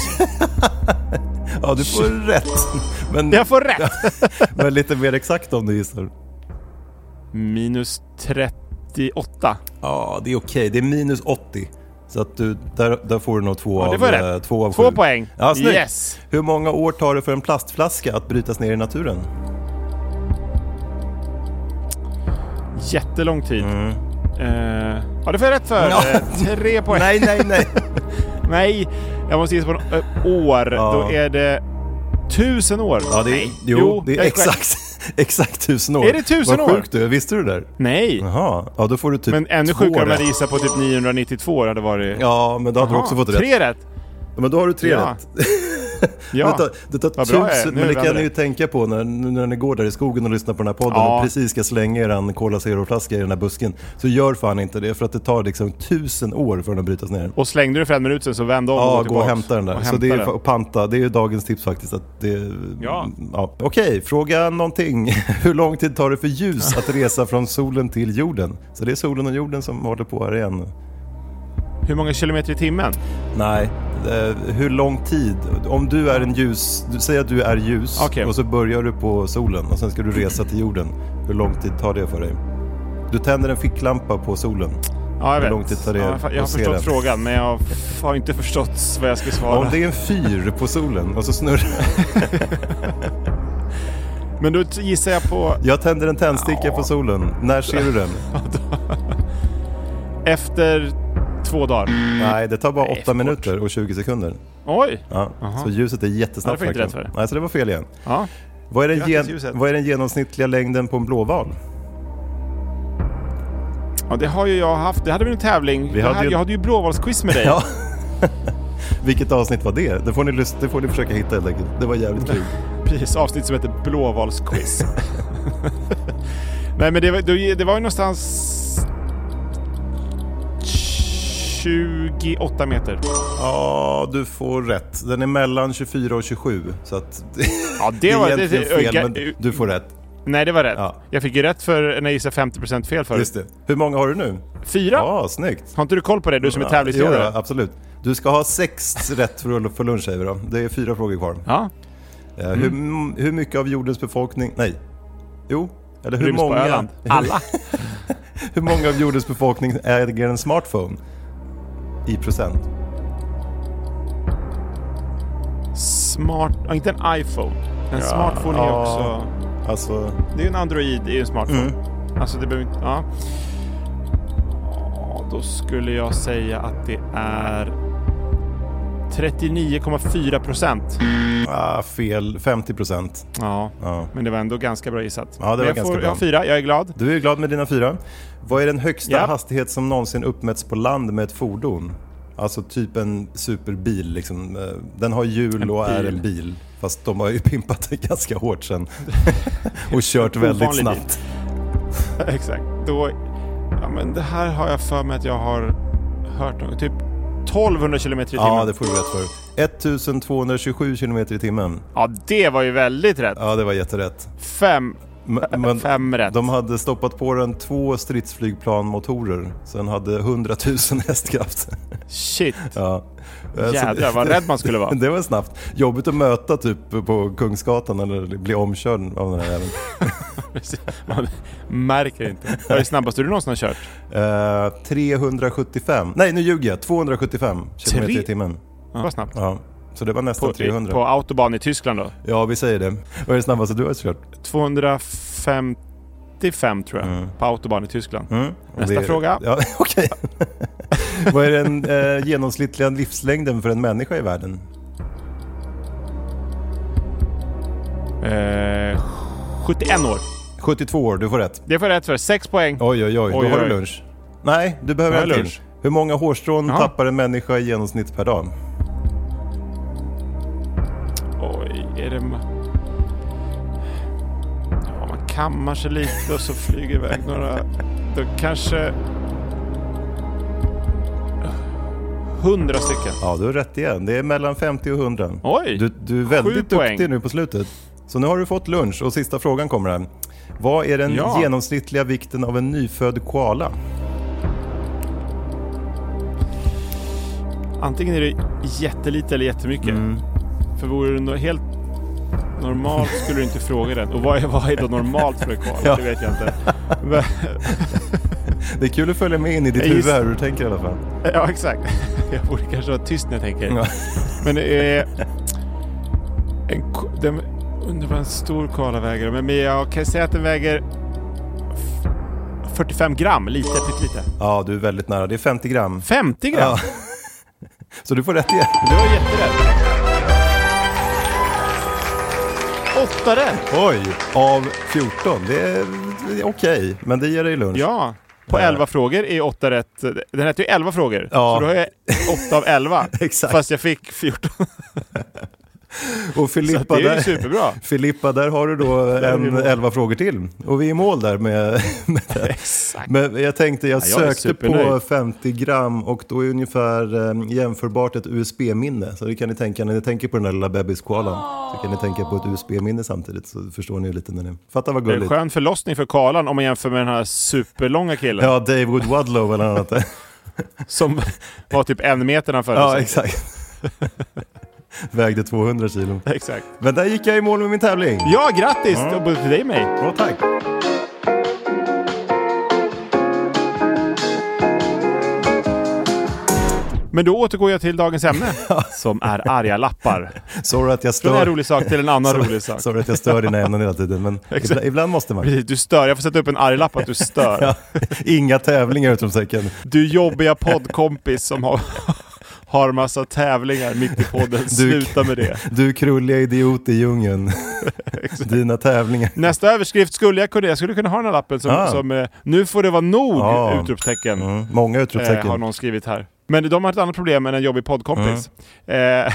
S1: Ja, du får rätt. Men,
S2: Jag får rätt!
S1: men lite mer exakt om du gissar.
S2: Minus 38.
S1: Ja, det är okej. Det är minus 80. Så att du, där, där får du nog två,
S2: Ja, det
S1: av,
S2: var
S1: eh,
S2: rätt.
S1: två av
S2: Två
S1: sju.
S2: poäng.
S1: Ja, snyggt.
S2: yes.
S1: Hur många år tar det för en plastflaska att brytas ner i naturen?
S2: Jättelång tid. Eh, ja, det får jag rätt för.
S1: Mm. Ja.
S2: Eh, Tre poäng.
S1: nej, nej.
S2: Nej, jag måste gissa på en, eh, år.
S1: Ja.
S2: Då är det tusen år.
S1: Ja, det är,
S2: Nej.
S1: jo, det
S2: jag
S1: är
S2: korrekt.
S1: exakt, exakt tusen år.
S2: Är det tusen
S1: Vad
S2: år?
S1: sjukt du är. Visste du det där?
S2: Nej,
S1: Jaha, ja då får du typ
S2: men ännu
S1: två
S2: sjukare om jag
S1: rätt.
S2: hade gissat på typ 992 hade varit.
S1: Ja, men då hade
S2: Jaha,
S1: du också fått rätt.
S2: Tre rätt.
S1: Men då har du tre
S2: Ja.
S1: rätt.
S2: Ja.
S1: Vänta, det tar
S2: Vad bra jag är.
S1: tusen,
S2: Nu
S1: men det kan
S2: vänder
S1: ni ju
S2: det.
S1: tänka på när, nu när ni går där i skogen och lyssnar på den här podden
S2: Ja.
S1: och precis ska slänga er en Cola Zero-flaska i den här busken. Så gör fan inte det, för att det tar liksom tusen år för den att brytas ner.
S2: Och slängde du för en minut sen så vände om och
S1: Ja,
S2: gå
S1: gå och
S2: tillbaks.
S1: hämta den där.
S2: Och
S1: så
S2: hämta
S1: det är
S2: den.
S1: fa- och panta, det är ju dagens tips faktiskt. Att det,
S2: Ja.
S1: Ja. Okej, fråga någonting. Hur lång tid tar det för ljus att resa från solen till jorden? Så det är solen och jorden som håller på här igen.
S2: Hur många kilometer i timmen?
S1: Nej, eh, hur lång tid? Om du är en ljus, du säger att du är ljus
S2: Okej. Mm.
S1: och så börjar du på solen och sen ska du resa till jorden. Hur lång tid tar det för dig? Du tänder en ficklampa på solen.
S2: Ja, jag
S1: Hur
S2: vet.
S1: lång tid tar det
S2: Ja, jag fa- jag har
S1: att se
S2: förstått
S1: den?
S2: frågan, men jag f- har inte förstått vad jag ska svara.
S1: Om det är en fyr på solen och så snurrar...
S2: Men då t- gissar jag på
S1: Jag tänder en tändsticka på solen. När ser du den?
S2: efter två dagar.
S1: Nej, det tar bara
S2: Nej,
S1: 8
S2: för
S1: minuter och 20 sekunder.
S2: Oj!
S1: Ja.
S2: Jaha.
S1: Så ljuset är
S2: Ja, det
S1: jättesnabbt
S2: får inte
S1: verkligen.
S2: rätt för det.
S1: Nej, så det var fel igen.
S2: Ja.
S1: Vad är, den
S2: Grattis,
S1: gen-
S2: ljuset.
S1: vad är den genomsnittliga längden på en blåval?
S2: ja, det har ju jag haft. Det hade vi en tävling.
S1: Vi
S2: jag,
S1: hade
S2: hade,
S1: ju-
S2: jag hade ju blåvalsquiz med dig.
S1: Ja. Vilket avsnitt var det? Det får ni, lys- det får ni försöka hitta helt enkelt. Det var jävligt kul.
S2: Precis, avsnitt som heter blåvalsquiz. Nej, men det var, det, det var ju någonstans 28 meter.
S1: Ja, du får rätt. Den är mellan 24 och 27. Så att
S2: Ja,
S1: det
S2: det var...
S1: är egentligen fel,
S2: ga-
S1: men du får rätt.
S2: Nej, det var rätt.
S1: Ja.
S2: Jag fick ju rätt för när jag gissade 50% fel förut.
S1: Just det. Hur många har du nu?
S2: Fyra?
S1: Ja, snyggt.
S2: Har inte du koll på det, du som är
S1: Ja,
S2: tävlingsledare?
S1: jo, absolut. Du ska ha sex rätt för att få lunch, säger vi då. Det är fyra frågor kvar.
S2: Ja.
S1: Eh,
S2: Mm.
S1: Hur, hur mycket av jordens befolkning... Nej. Jo. Eller hur
S2: Ryms på
S1: många,
S2: Öland. Alla.
S1: hur många av jordens befolkning äger en smartphone? I procent.
S2: Smart... Ja, inte en iPhone. En smartphone är ju
S1: ja.
S2: också...
S1: Alltså,
S2: Det är ju en Android i en smartphone.
S1: Mm.
S2: Alltså det behöver inte... Ja. Ja, Då skulle jag säga att det är 39,4 procent.
S1: ah, fel. 50 procent.
S2: Ja,
S1: Ja.
S2: men det var ändå ganska bra gissat.
S1: Ja, det
S2: Men
S1: var
S2: jag
S1: ganska
S2: får,
S1: bra.
S2: Jag har fyra, jag är glad.
S1: Du är glad med dina fyra. Vad är den högsta
S2: Ja.
S1: hastighet som någonsin uppmätts på land med ett fordon? Alltså typ en superbil. Liksom. Eh, Den har hjul och är
S2: bil.
S1: en bil. Fast de har ju pimpat det ganska hårt sen. och kört väldigt
S2: Ovanlig bil.
S1: snabbt.
S2: Exakt. Då, ja, men det här har jag för mig att jag har hört något. Typ 1200 kilometer i timmen.
S1: Ja, det får du rätt för. 1227 kilometer i timmen.
S2: ja, det var ju väldigt rätt.
S1: Ja, det var jätterätt.
S2: Fem.
S1: M- men
S2: Fem rätt.
S1: De hade stoppat på den två stridsflygplanmotorer, så den hade 100 000 hästkraft.
S2: Shit.
S1: Ja. Eh, så
S2: Jädrar vad rädd man skulle vara.
S1: Det var snabbt. Jobbigt att möta typ på Kungsgatan eller bli omkörd av den här jäveln.
S2: Man märker inte. Vad är det snabbaste du någonsin har kört?
S1: Eh, 375, nej nu ljuger jag, 275 kilometer i
S2: Tre-
S1: timmen.
S2: Det var snabbt.
S1: Ja. Så det var nästan
S2: På,
S1: 300.
S2: på autobahn i Tyskland då?
S1: Ja, vi säger det. Vad är det snabbaste du har kört?
S2: 255 tror jag, på autobahn i Tyskland.
S1: Mm. Och
S2: Nästa
S1: det-
S2: fråga.
S1: Ja, Okej. Vad är den eh, genomsnittliga livslängden för en människa i världen?
S2: Eh, 71 år.
S1: 72 år, du får rätt.
S2: Det får jag rätt för. 6 poäng.
S1: Oj, oj, oj. Då
S2: Oj,
S1: har
S2: oj,
S1: du
S2: oj.
S1: lunch. Nej, du behöver
S2: Jag har
S1: en till.
S2: lunch.
S1: Hur många hårstrån
S2: Jaha.
S1: tappar en människa i genomsnitt per dag?
S2: Oj, är det... ma- Ja, man kammar sig lite och så flyger iväg några... Då kanske... 100 stycken.
S1: Ja, du har rätt igen. Det är mellan 50 och 100.
S2: Oj!
S1: Du, du är väldigt
S2: Sju
S1: duktig
S2: poäng.
S1: nu på slutet. Så nu har du fått lunch och sista frågan kommer här. Vad är den
S2: Ja.
S1: genomsnittliga vikten av en nyfödd koala?
S2: Antingen är det jättelite eller jättemycket.
S1: Mm.
S2: För vore det nå- helt normalt skulle du inte fråga den. Och vad är, vad är då normalt för ett kval?
S1: Ja.
S2: Det vet jag inte. Men,
S1: Det är kul att följa med in i ditt
S2: Jag
S1: huvud
S2: gissar-
S1: här hur du tänker i alla fall.
S2: ja, exakt. Jag borde kanske vara tyst när jag tänker.
S1: Ja.
S2: Men eh, en, ko- den, undrar vad en stor koala väger. Men men jag kan säga att den väger f- 45 gram. Lite, pyttelite.
S1: Ja, du är väldigt nära. Det är 50 gram.
S2: 50 gram?
S1: Ja. Så du får rätt igen.
S2: Du har jätterätt. Åtta rätt!
S1: Oj, av 14. Det är, det är okej, men det ger dig lunch.
S2: Ja, på
S1: Ja.
S2: elva frågor är åtta rätt. Den hette ju elva frågor,
S1: Ja.
S2: så då har jag åtta av elva.
S1: Exakt.
S2: Fast jag fick 14,
S1: Och
S2: så att
S1: Filippa,
S2: det är ju
S1: där,
S2: superbra.
S1: Filippa, där har du då
S2: är vi i
S1: en
S2: mål.
S1: 11 frågor till. Och vi är i mål där med, med det.
S2: Exakt.
S1: Men jag tänkte, jag
S2: Ja, jag är
S1: sökte på
S2: supernöjd.
S1: 50 gram och då är ungefär eh, jämförbart ett USB-minne. Så det kan ni tänka när ni tänker på den där lilla bebiskoalan. Så kan ni tänka på ett USB-minne samtidigt så förstår ni ju lite när ni... Fatta vad
S2: Det är en
S1: gulligt.
S2: skön förlossning för Karlan om man jämför med den här superlånga killen
S1: Ja, Dave Wood Wadlow eller något annat.
S2: som var typ en meter när han föddes.
S1: ja, exakt. Vägde 200 kilo.
S2: exakt.
S1: Men där gick jag i mål med min tävling.
S2: Ja, grattis! Mm. Både till dig och mig.
S1: Ja, tack.
S2: Men då återgår jag till dagens ämne, som är arga lappar.
S1: Sorry att jag
S2: Från en
S1: stör,
S2: rolig sak till en annan rolig sak.
S1: sorry att jag stör dina ämnen hela tiden, men ibland, ibland måste man.
S2: Precis, du stör. Jag får sätta upp en arg lapp att du stör.
S1: Ja, inga tävlingar utom säcken.
S2: Du jobbiga poddkompis som har, har massa tävlingar mitt i podden. Sluta med det.
S1: Du krulliga idiot i djungeln. Dina tävlingar.
S2: Nästa överskrift skulle jag kunna, jag skulle kunna ha den här lappen som,
S1: Ah.
S2: som eh, nu får det vara nog!
S1: Ah.
S2: Utropstecken.
S1: Mm, många
S2: Eh,
S1: utropstecken.
S2: har någon skrivit här. Men de har ett annat problem än en jobbig poddkompis. Eh,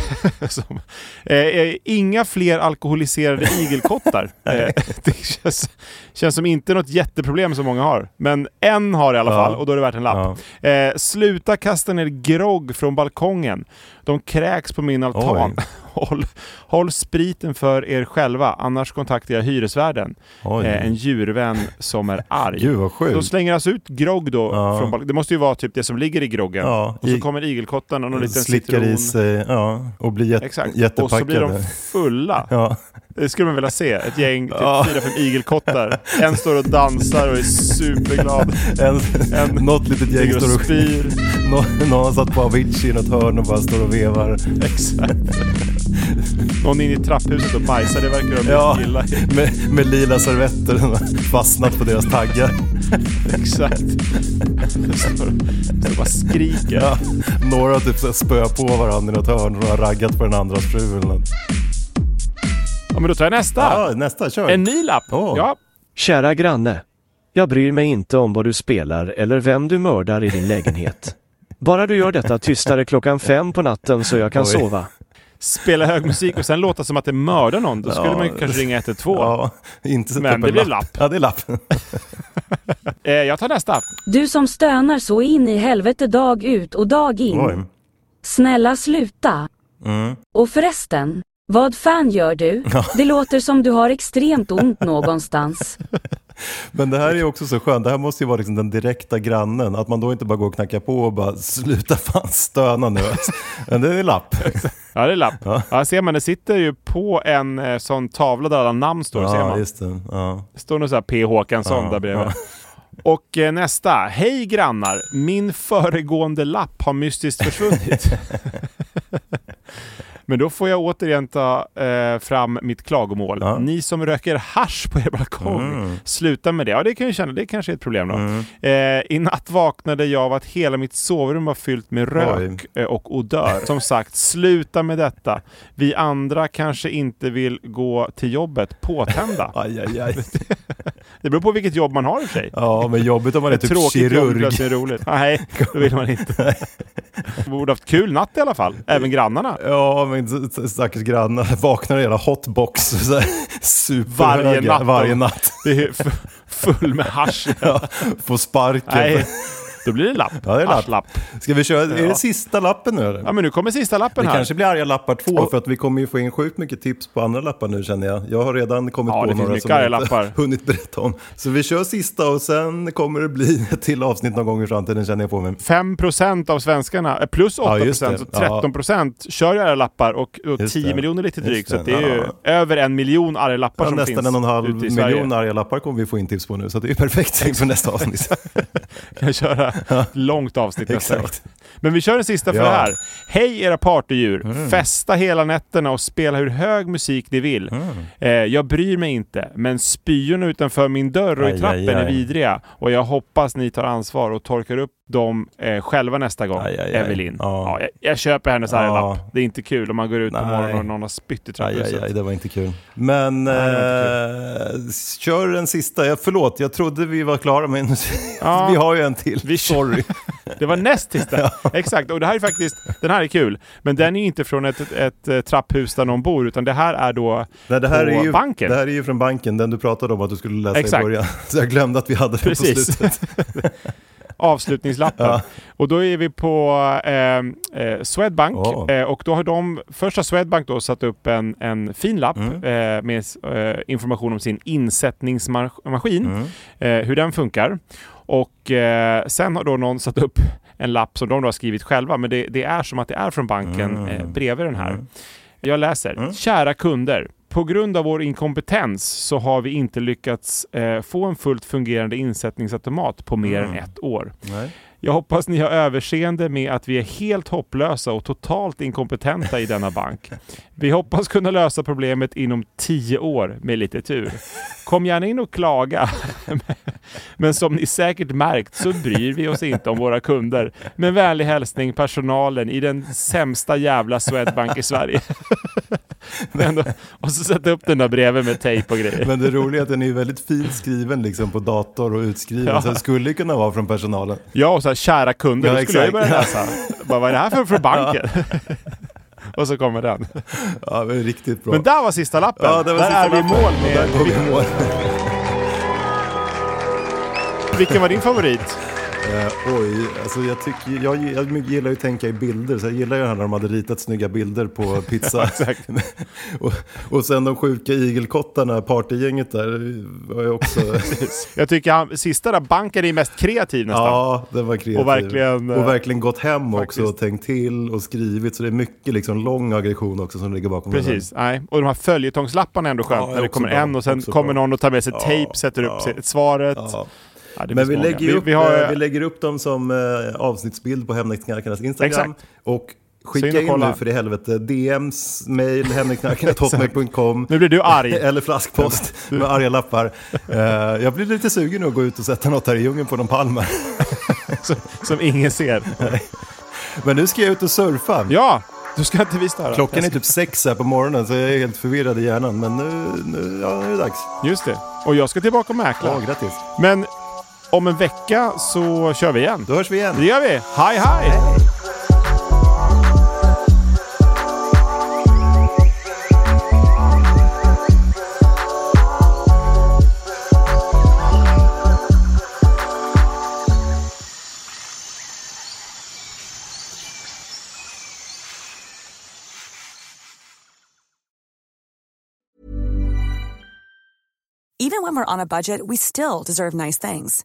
S2: som, eh, eh, inga fler alkoholiserade igelkottar. eh, det känns, känns som inte något jätteproblem som många har. Men en har i alla
S1: Ja.
S2: fall och då är det värt en lapp. Eh, sluta kasta ner grogg från balkongen. De kräks på min altan. Håll, håll spriten för er själva, annars kontaktar jag hyresvärden.
S1: Oj.
S2: Eh, en djurvän som är arg.
S1: Gud vad
S2: De
S1: sjukt.
S2: slänger alltså ut grogg då.
S1: Ja.
S2: Från balk- det måste ju vara typ det som ligger i groggen.
S1: Ja,
S2: och så
S1: i-
S2: kommer igelkotten och någon liten
S1: Slickar
S2: citron.
S1: i sig ja, och blir jät-
S2: Exakt. Och så blir de
S1: jättepackade.
S2: fulla.
S1: Ja.
S2: Det skulle man vilja se. Ett gäng, typ
S1: Ja.
S2: fyra, fem igelkottar. En står och dansar och är superglad.
S1: En,
S2: En-
S1: något litet gäng
S2: Ligger
S1: står
S2: och
S1: och...
S2: spyr.
S1: Nå- Någon har satt på Avicii i något hörn och bara står och vevar.
S2: Exakt. Någon in i trapphuset och bajsar. Det verkar de
S1: Ja,
S2: gilla.
S1: med, med lila servetter som har fastnat på deras taggar.
S2: Exakt. Står står och bara skriker.
S1: Ja, några har typ så här spöat på varandra i något hörn och de har raggat på den andras fru eller något.
S2: Ja, men då tar jag nästa.
S1: Ja, nästa, kör.
S2: En ny lapp.
S1: Åh.
S2: Ja,
S5: Kära granne. Jag bryr mig inte om vad du spelar eller vem du mördar i din lägenhet. Bara du gör detta tystare klockan fem på natten så jag kan
S1: Oj.
S5: sova.
S2: spela hög musik och sen låta som att det mördar någon. Då skulle
S1: Ja.
S2: man ju kanske ringa 112.
S1: Ja, inte sätta
S2: Men
S1: upp en
S2: det blir lapp.
S1: Ja, det är lapp.
S2: Eh, jag tar nästa.
S6: Du som stönar så in i helvete dag ut och dag in.
S1: Oj. Mm.
S6: Snälla sluta. Och förresten, vad fan gör du? Det låter som du har extremt ont någonstans.
S1: Men det här är också så skönt, det här måste ju vara liksom den direkta grannen, att man då inte bara går och knackar på och bara sluta fan stöna nu. Men det är lapp.
S2: Ja, det är lapp. Ja. ser man. Det sitter ju på en eh, sån tavla där alla namn står. ser
S1: Ja,
S2: man.
S1: just det. Ja.
S2: Det står nog så här P. Håkansson
S1: Ja,
S2: där bredvid. Och eh, nästa. Hej grannar! Min föregående lapp har mystiskt försvunnit. Men då får jag återigen ta eh, fram mitt klagomål.
S1: Ja. Mm.
S2: Ni som röker hasch på er balkong, sluta med det. Ja, det kan jag känna. Det kanske är ett problem då. Eh, I natt vaknade jag av att hela mitt sovrum var fyllt med rök eh, och odör. Som sagt, sluta med detta. Vi andra kanske inte vill gå till jobbet påtända.
S1: Aj, aj, aj.
S2: Det beror på vilket jobb man har i och för sig.
S1: Ja, men jobbigt om man är typ
S2: Tråkigt jobb
S1: kirurg.
S2: plötsligt är roligt. Nej, det vill man inte. Man borde haft kul natt i alla fall. Även grannarna.
S1: Ja, men s- s- stackars grannar vaknar i en jävla hotbox. så här, Superhöga
S2: Varje natt.
S1: Varje natt.
S2: Det är f- full med hasch.
S1: Ja, får sparken.
S2: Nej, då blir det lapp.
S1: Ja, det är lapp.
S2: Haschlapp.
S1: Ska vi köra, är det
S2: Ja.
S1: sista lappen nu eller?
S2: Ja, men nu kommer sista lappen
S1: Det
S2: här.
S1: kanske blir arga lappar två, för att vi kommer ju få in sjukt mycket tips på andra lappar nu känner jag. Jag har redan kommit
S2: Ja, det
S1: på
S2: finns
S1: några
S2: mycket
S1: som jag
S2: arga
S1: inte
S2: lappar.
S1: hunnit berätta om. Så vi kör sista och sen kommer det bli ett till avsnitt någon gång i framtiden känner jag på mig.
S2: 5 procent av svenskarna, eh, plus 8
S1: Ja, just det.
S2: procent, så 13 procent kör ju arga lappar och, och
S1: Just
S2: 10
S1: det.
S2: miljoner lite
S1: Just
S2: drygt. Så
S1: det.
S2: att det är ju
S1: Ja.
S2: över en miljon arga lappar
S1: Ja,
S2: som
S1: nästan
S2: finns
S1: en och en halv
S2: ute i Sverige.
S1: miljon arga lappar kommer vi få in tips på nu, så det är ju perfekt inför nästa avsnitt.
S2: kan köra ett långt avsnitt nästa år.
S1: Exakt.
S2: Men vi kör den sista för
S1: Ja. Mm.
S2: det här. Hej era partydjur! Festa hela nätterna och spela hur hög musik ni vill.
S1: Mm.
S2: Eh, jag bryr mig inte, men spyorna utanför min dörr och
S1: Aj,
S2: i trappen
S1: aj, aj.
S2: är vidriga och jag hoppas ni tar ansvar och torkar upp dem eh, själva nästa gång,
S1: Aj, aj, aj.
S2: Evelyn.
S1: Ja.
S2: Ja, jag, jag köper hennes
S1: Ja.
S2: arglapp. Det är inte kul om man går ut på
S1: Nej.
S2: morgonen och någon har spytt i
S1: Aj,
S2: trapphuset.
S1: aj, aj, det var inte kul. Men
S2: Nej, det
S1: eh, kör en sista. Jag, förlåt, jag trodde vi var klara, men
S2: Ja.
S1: vi har ju en till.
S2: Vi-
S1: Sorry.
S2: Det var näst sista. Exakt, och det här är faktiskt, den här är kul. Men den är ju inte från ett, ett, ett eh, trapphus där någon bor, utan det här är då
S1: Nej, det, här
S2: på
S1: är ju,
S2: banken.
S1: det här är ju från banken, den du pratade om att du skulle läsa
S2: Exakt.
S1: i början. Så jag glömde att vi hade det på
S2: Precis.
S1: slutet.
S2: avslutningslappen.
S1: Ja.
S2: Och då är vi på eh, eh, Swedbank
S1: Åh.
S2: eh, och då har de, först har Swedbank då satt upp en, en fin lapp
S1: Mm.
S2: eh, med s- eh, information om sin insättningsmaskin,
S1: Mm.
S2: eh, hur den funkar. Och eh, sen har då någon satt upp en lapp som de då har skrivit själva, men det, det är som att det är från banken
S1: Mm.
S2: eh, bredvid den här.
S1: Mm.
S2: Jag läser.
S1: Mm.
S2: Kära kunder. På grund av vår inkompetens så har vi inte lyckats eh, få en fullt fungerande insättningsautomat på mer
S1: Mm.
S2: än ett år.
S1: Nej.
S2: Jag hoppas ni har överseende med att vi är helt hopplösa och totalt inkompetenta i denna bank. Vi hoppas kunna lösa problemet inom tio år med lite tur. Kom gärna in och klaga. Men som ni säkert märkt så bryr vi oss inte om våra kunder. Med vänlig hälsning personalen i den sämsta jävla Swedbank i Sverige. Men då- och så sätta upp den där bredvid med tejp och grejer.
S1: Men det roliga är att den är ju väldigt fint skriven liksom, på dator och utskriven,
S2: Ja.
S1: så det skulle ju kunna vara från personalen.
S2: Ja, och så här, kära kunder,
S1: Ja,
S2: då skulle jag ju börja
S1: exakt.
S2: läsa. Bara, vad är det här för, för banken? och så kommer den.
S1: Ja, det är riktigt bra.
S2: Men där var sista lappen.
S1: ja, det var
S2: där
S1: sista
S2: är vi i
S1: lappen.
S2: mål
S1: Och
S2: med...
S1: Där går vi i mål.
S2: Vilken var din favorit?
S1: Eh, oj, alltså jag, tycker, jag, jag gillar ju att tänka i bilder, så jag gillar ju det här när de hade ritat snygga bilder på pizza. och, och sen de sjuka igelkottarna, partygänget där, var ju också...
S2: Jag tycker han, sista där, banken är mest kreativ nästan.
S1: ja, den var kreativ.
S2: Och verkligen, eh,
S1: och verkligen gått hem också
S2: faktiskt.
S1: och tänkt till och skrivit, så det är mycket liksom lång aggression också som ligger bakom den.
S2: Precis, nej. Och de här följetongslapparna är ändå skönt.
S1: Ja,
S2: när det
S1: också
S2: kommer
S1: bra,
S2: en och sen
S1: också
S2: kommer
S1: bra.
S2: någon och tar med sig
S1: Ja,
S2: tejp, sätter upp
S1: ja.
S2: sig- svaret. Ja.
S1: Ja.
S2: det
S1: Men
S2: finns
S1: vi
S2: många.
S1: lägger, ju upp,
S2: vi, vi har,
S1: eh, vi lägger upp dem som eh, avsnittsbild på Hemligknarkarnas Instagram.
S2: Exakt.
S1: Och
S2: Så
S1: skicka
S2: in och
S1: in,
S2: kolla.
S1: nu för i helvete DMs, mail, hemligknarkarna.hotmail.com
S2: Nu blir du arg.
S1: eller flaskpost med arga lappar. Eh, jag blir lite sugen att gå ut och sätta något här i djungeln på någon palm. här.
S2: som, som ingen ser.
S1: Men nu ska jag ut och surfa.
S2: Ja, då ska inte vi störa.
S1: Klockan är typ sex här på morgonen så jag är helt förvirrad i hjärnan. Men nu, nu, ja, nu är det dags.
S2: Just det. Och jag ska tillbaka och mäkla.
S1: Ja, grattis.
S2: Men om en vecka så kör vi igen.
S1: Då hörs vi igen.
S2: Det gör vi. Hej, hej!
S7: Even when we're on a budget, we still deserve nice things.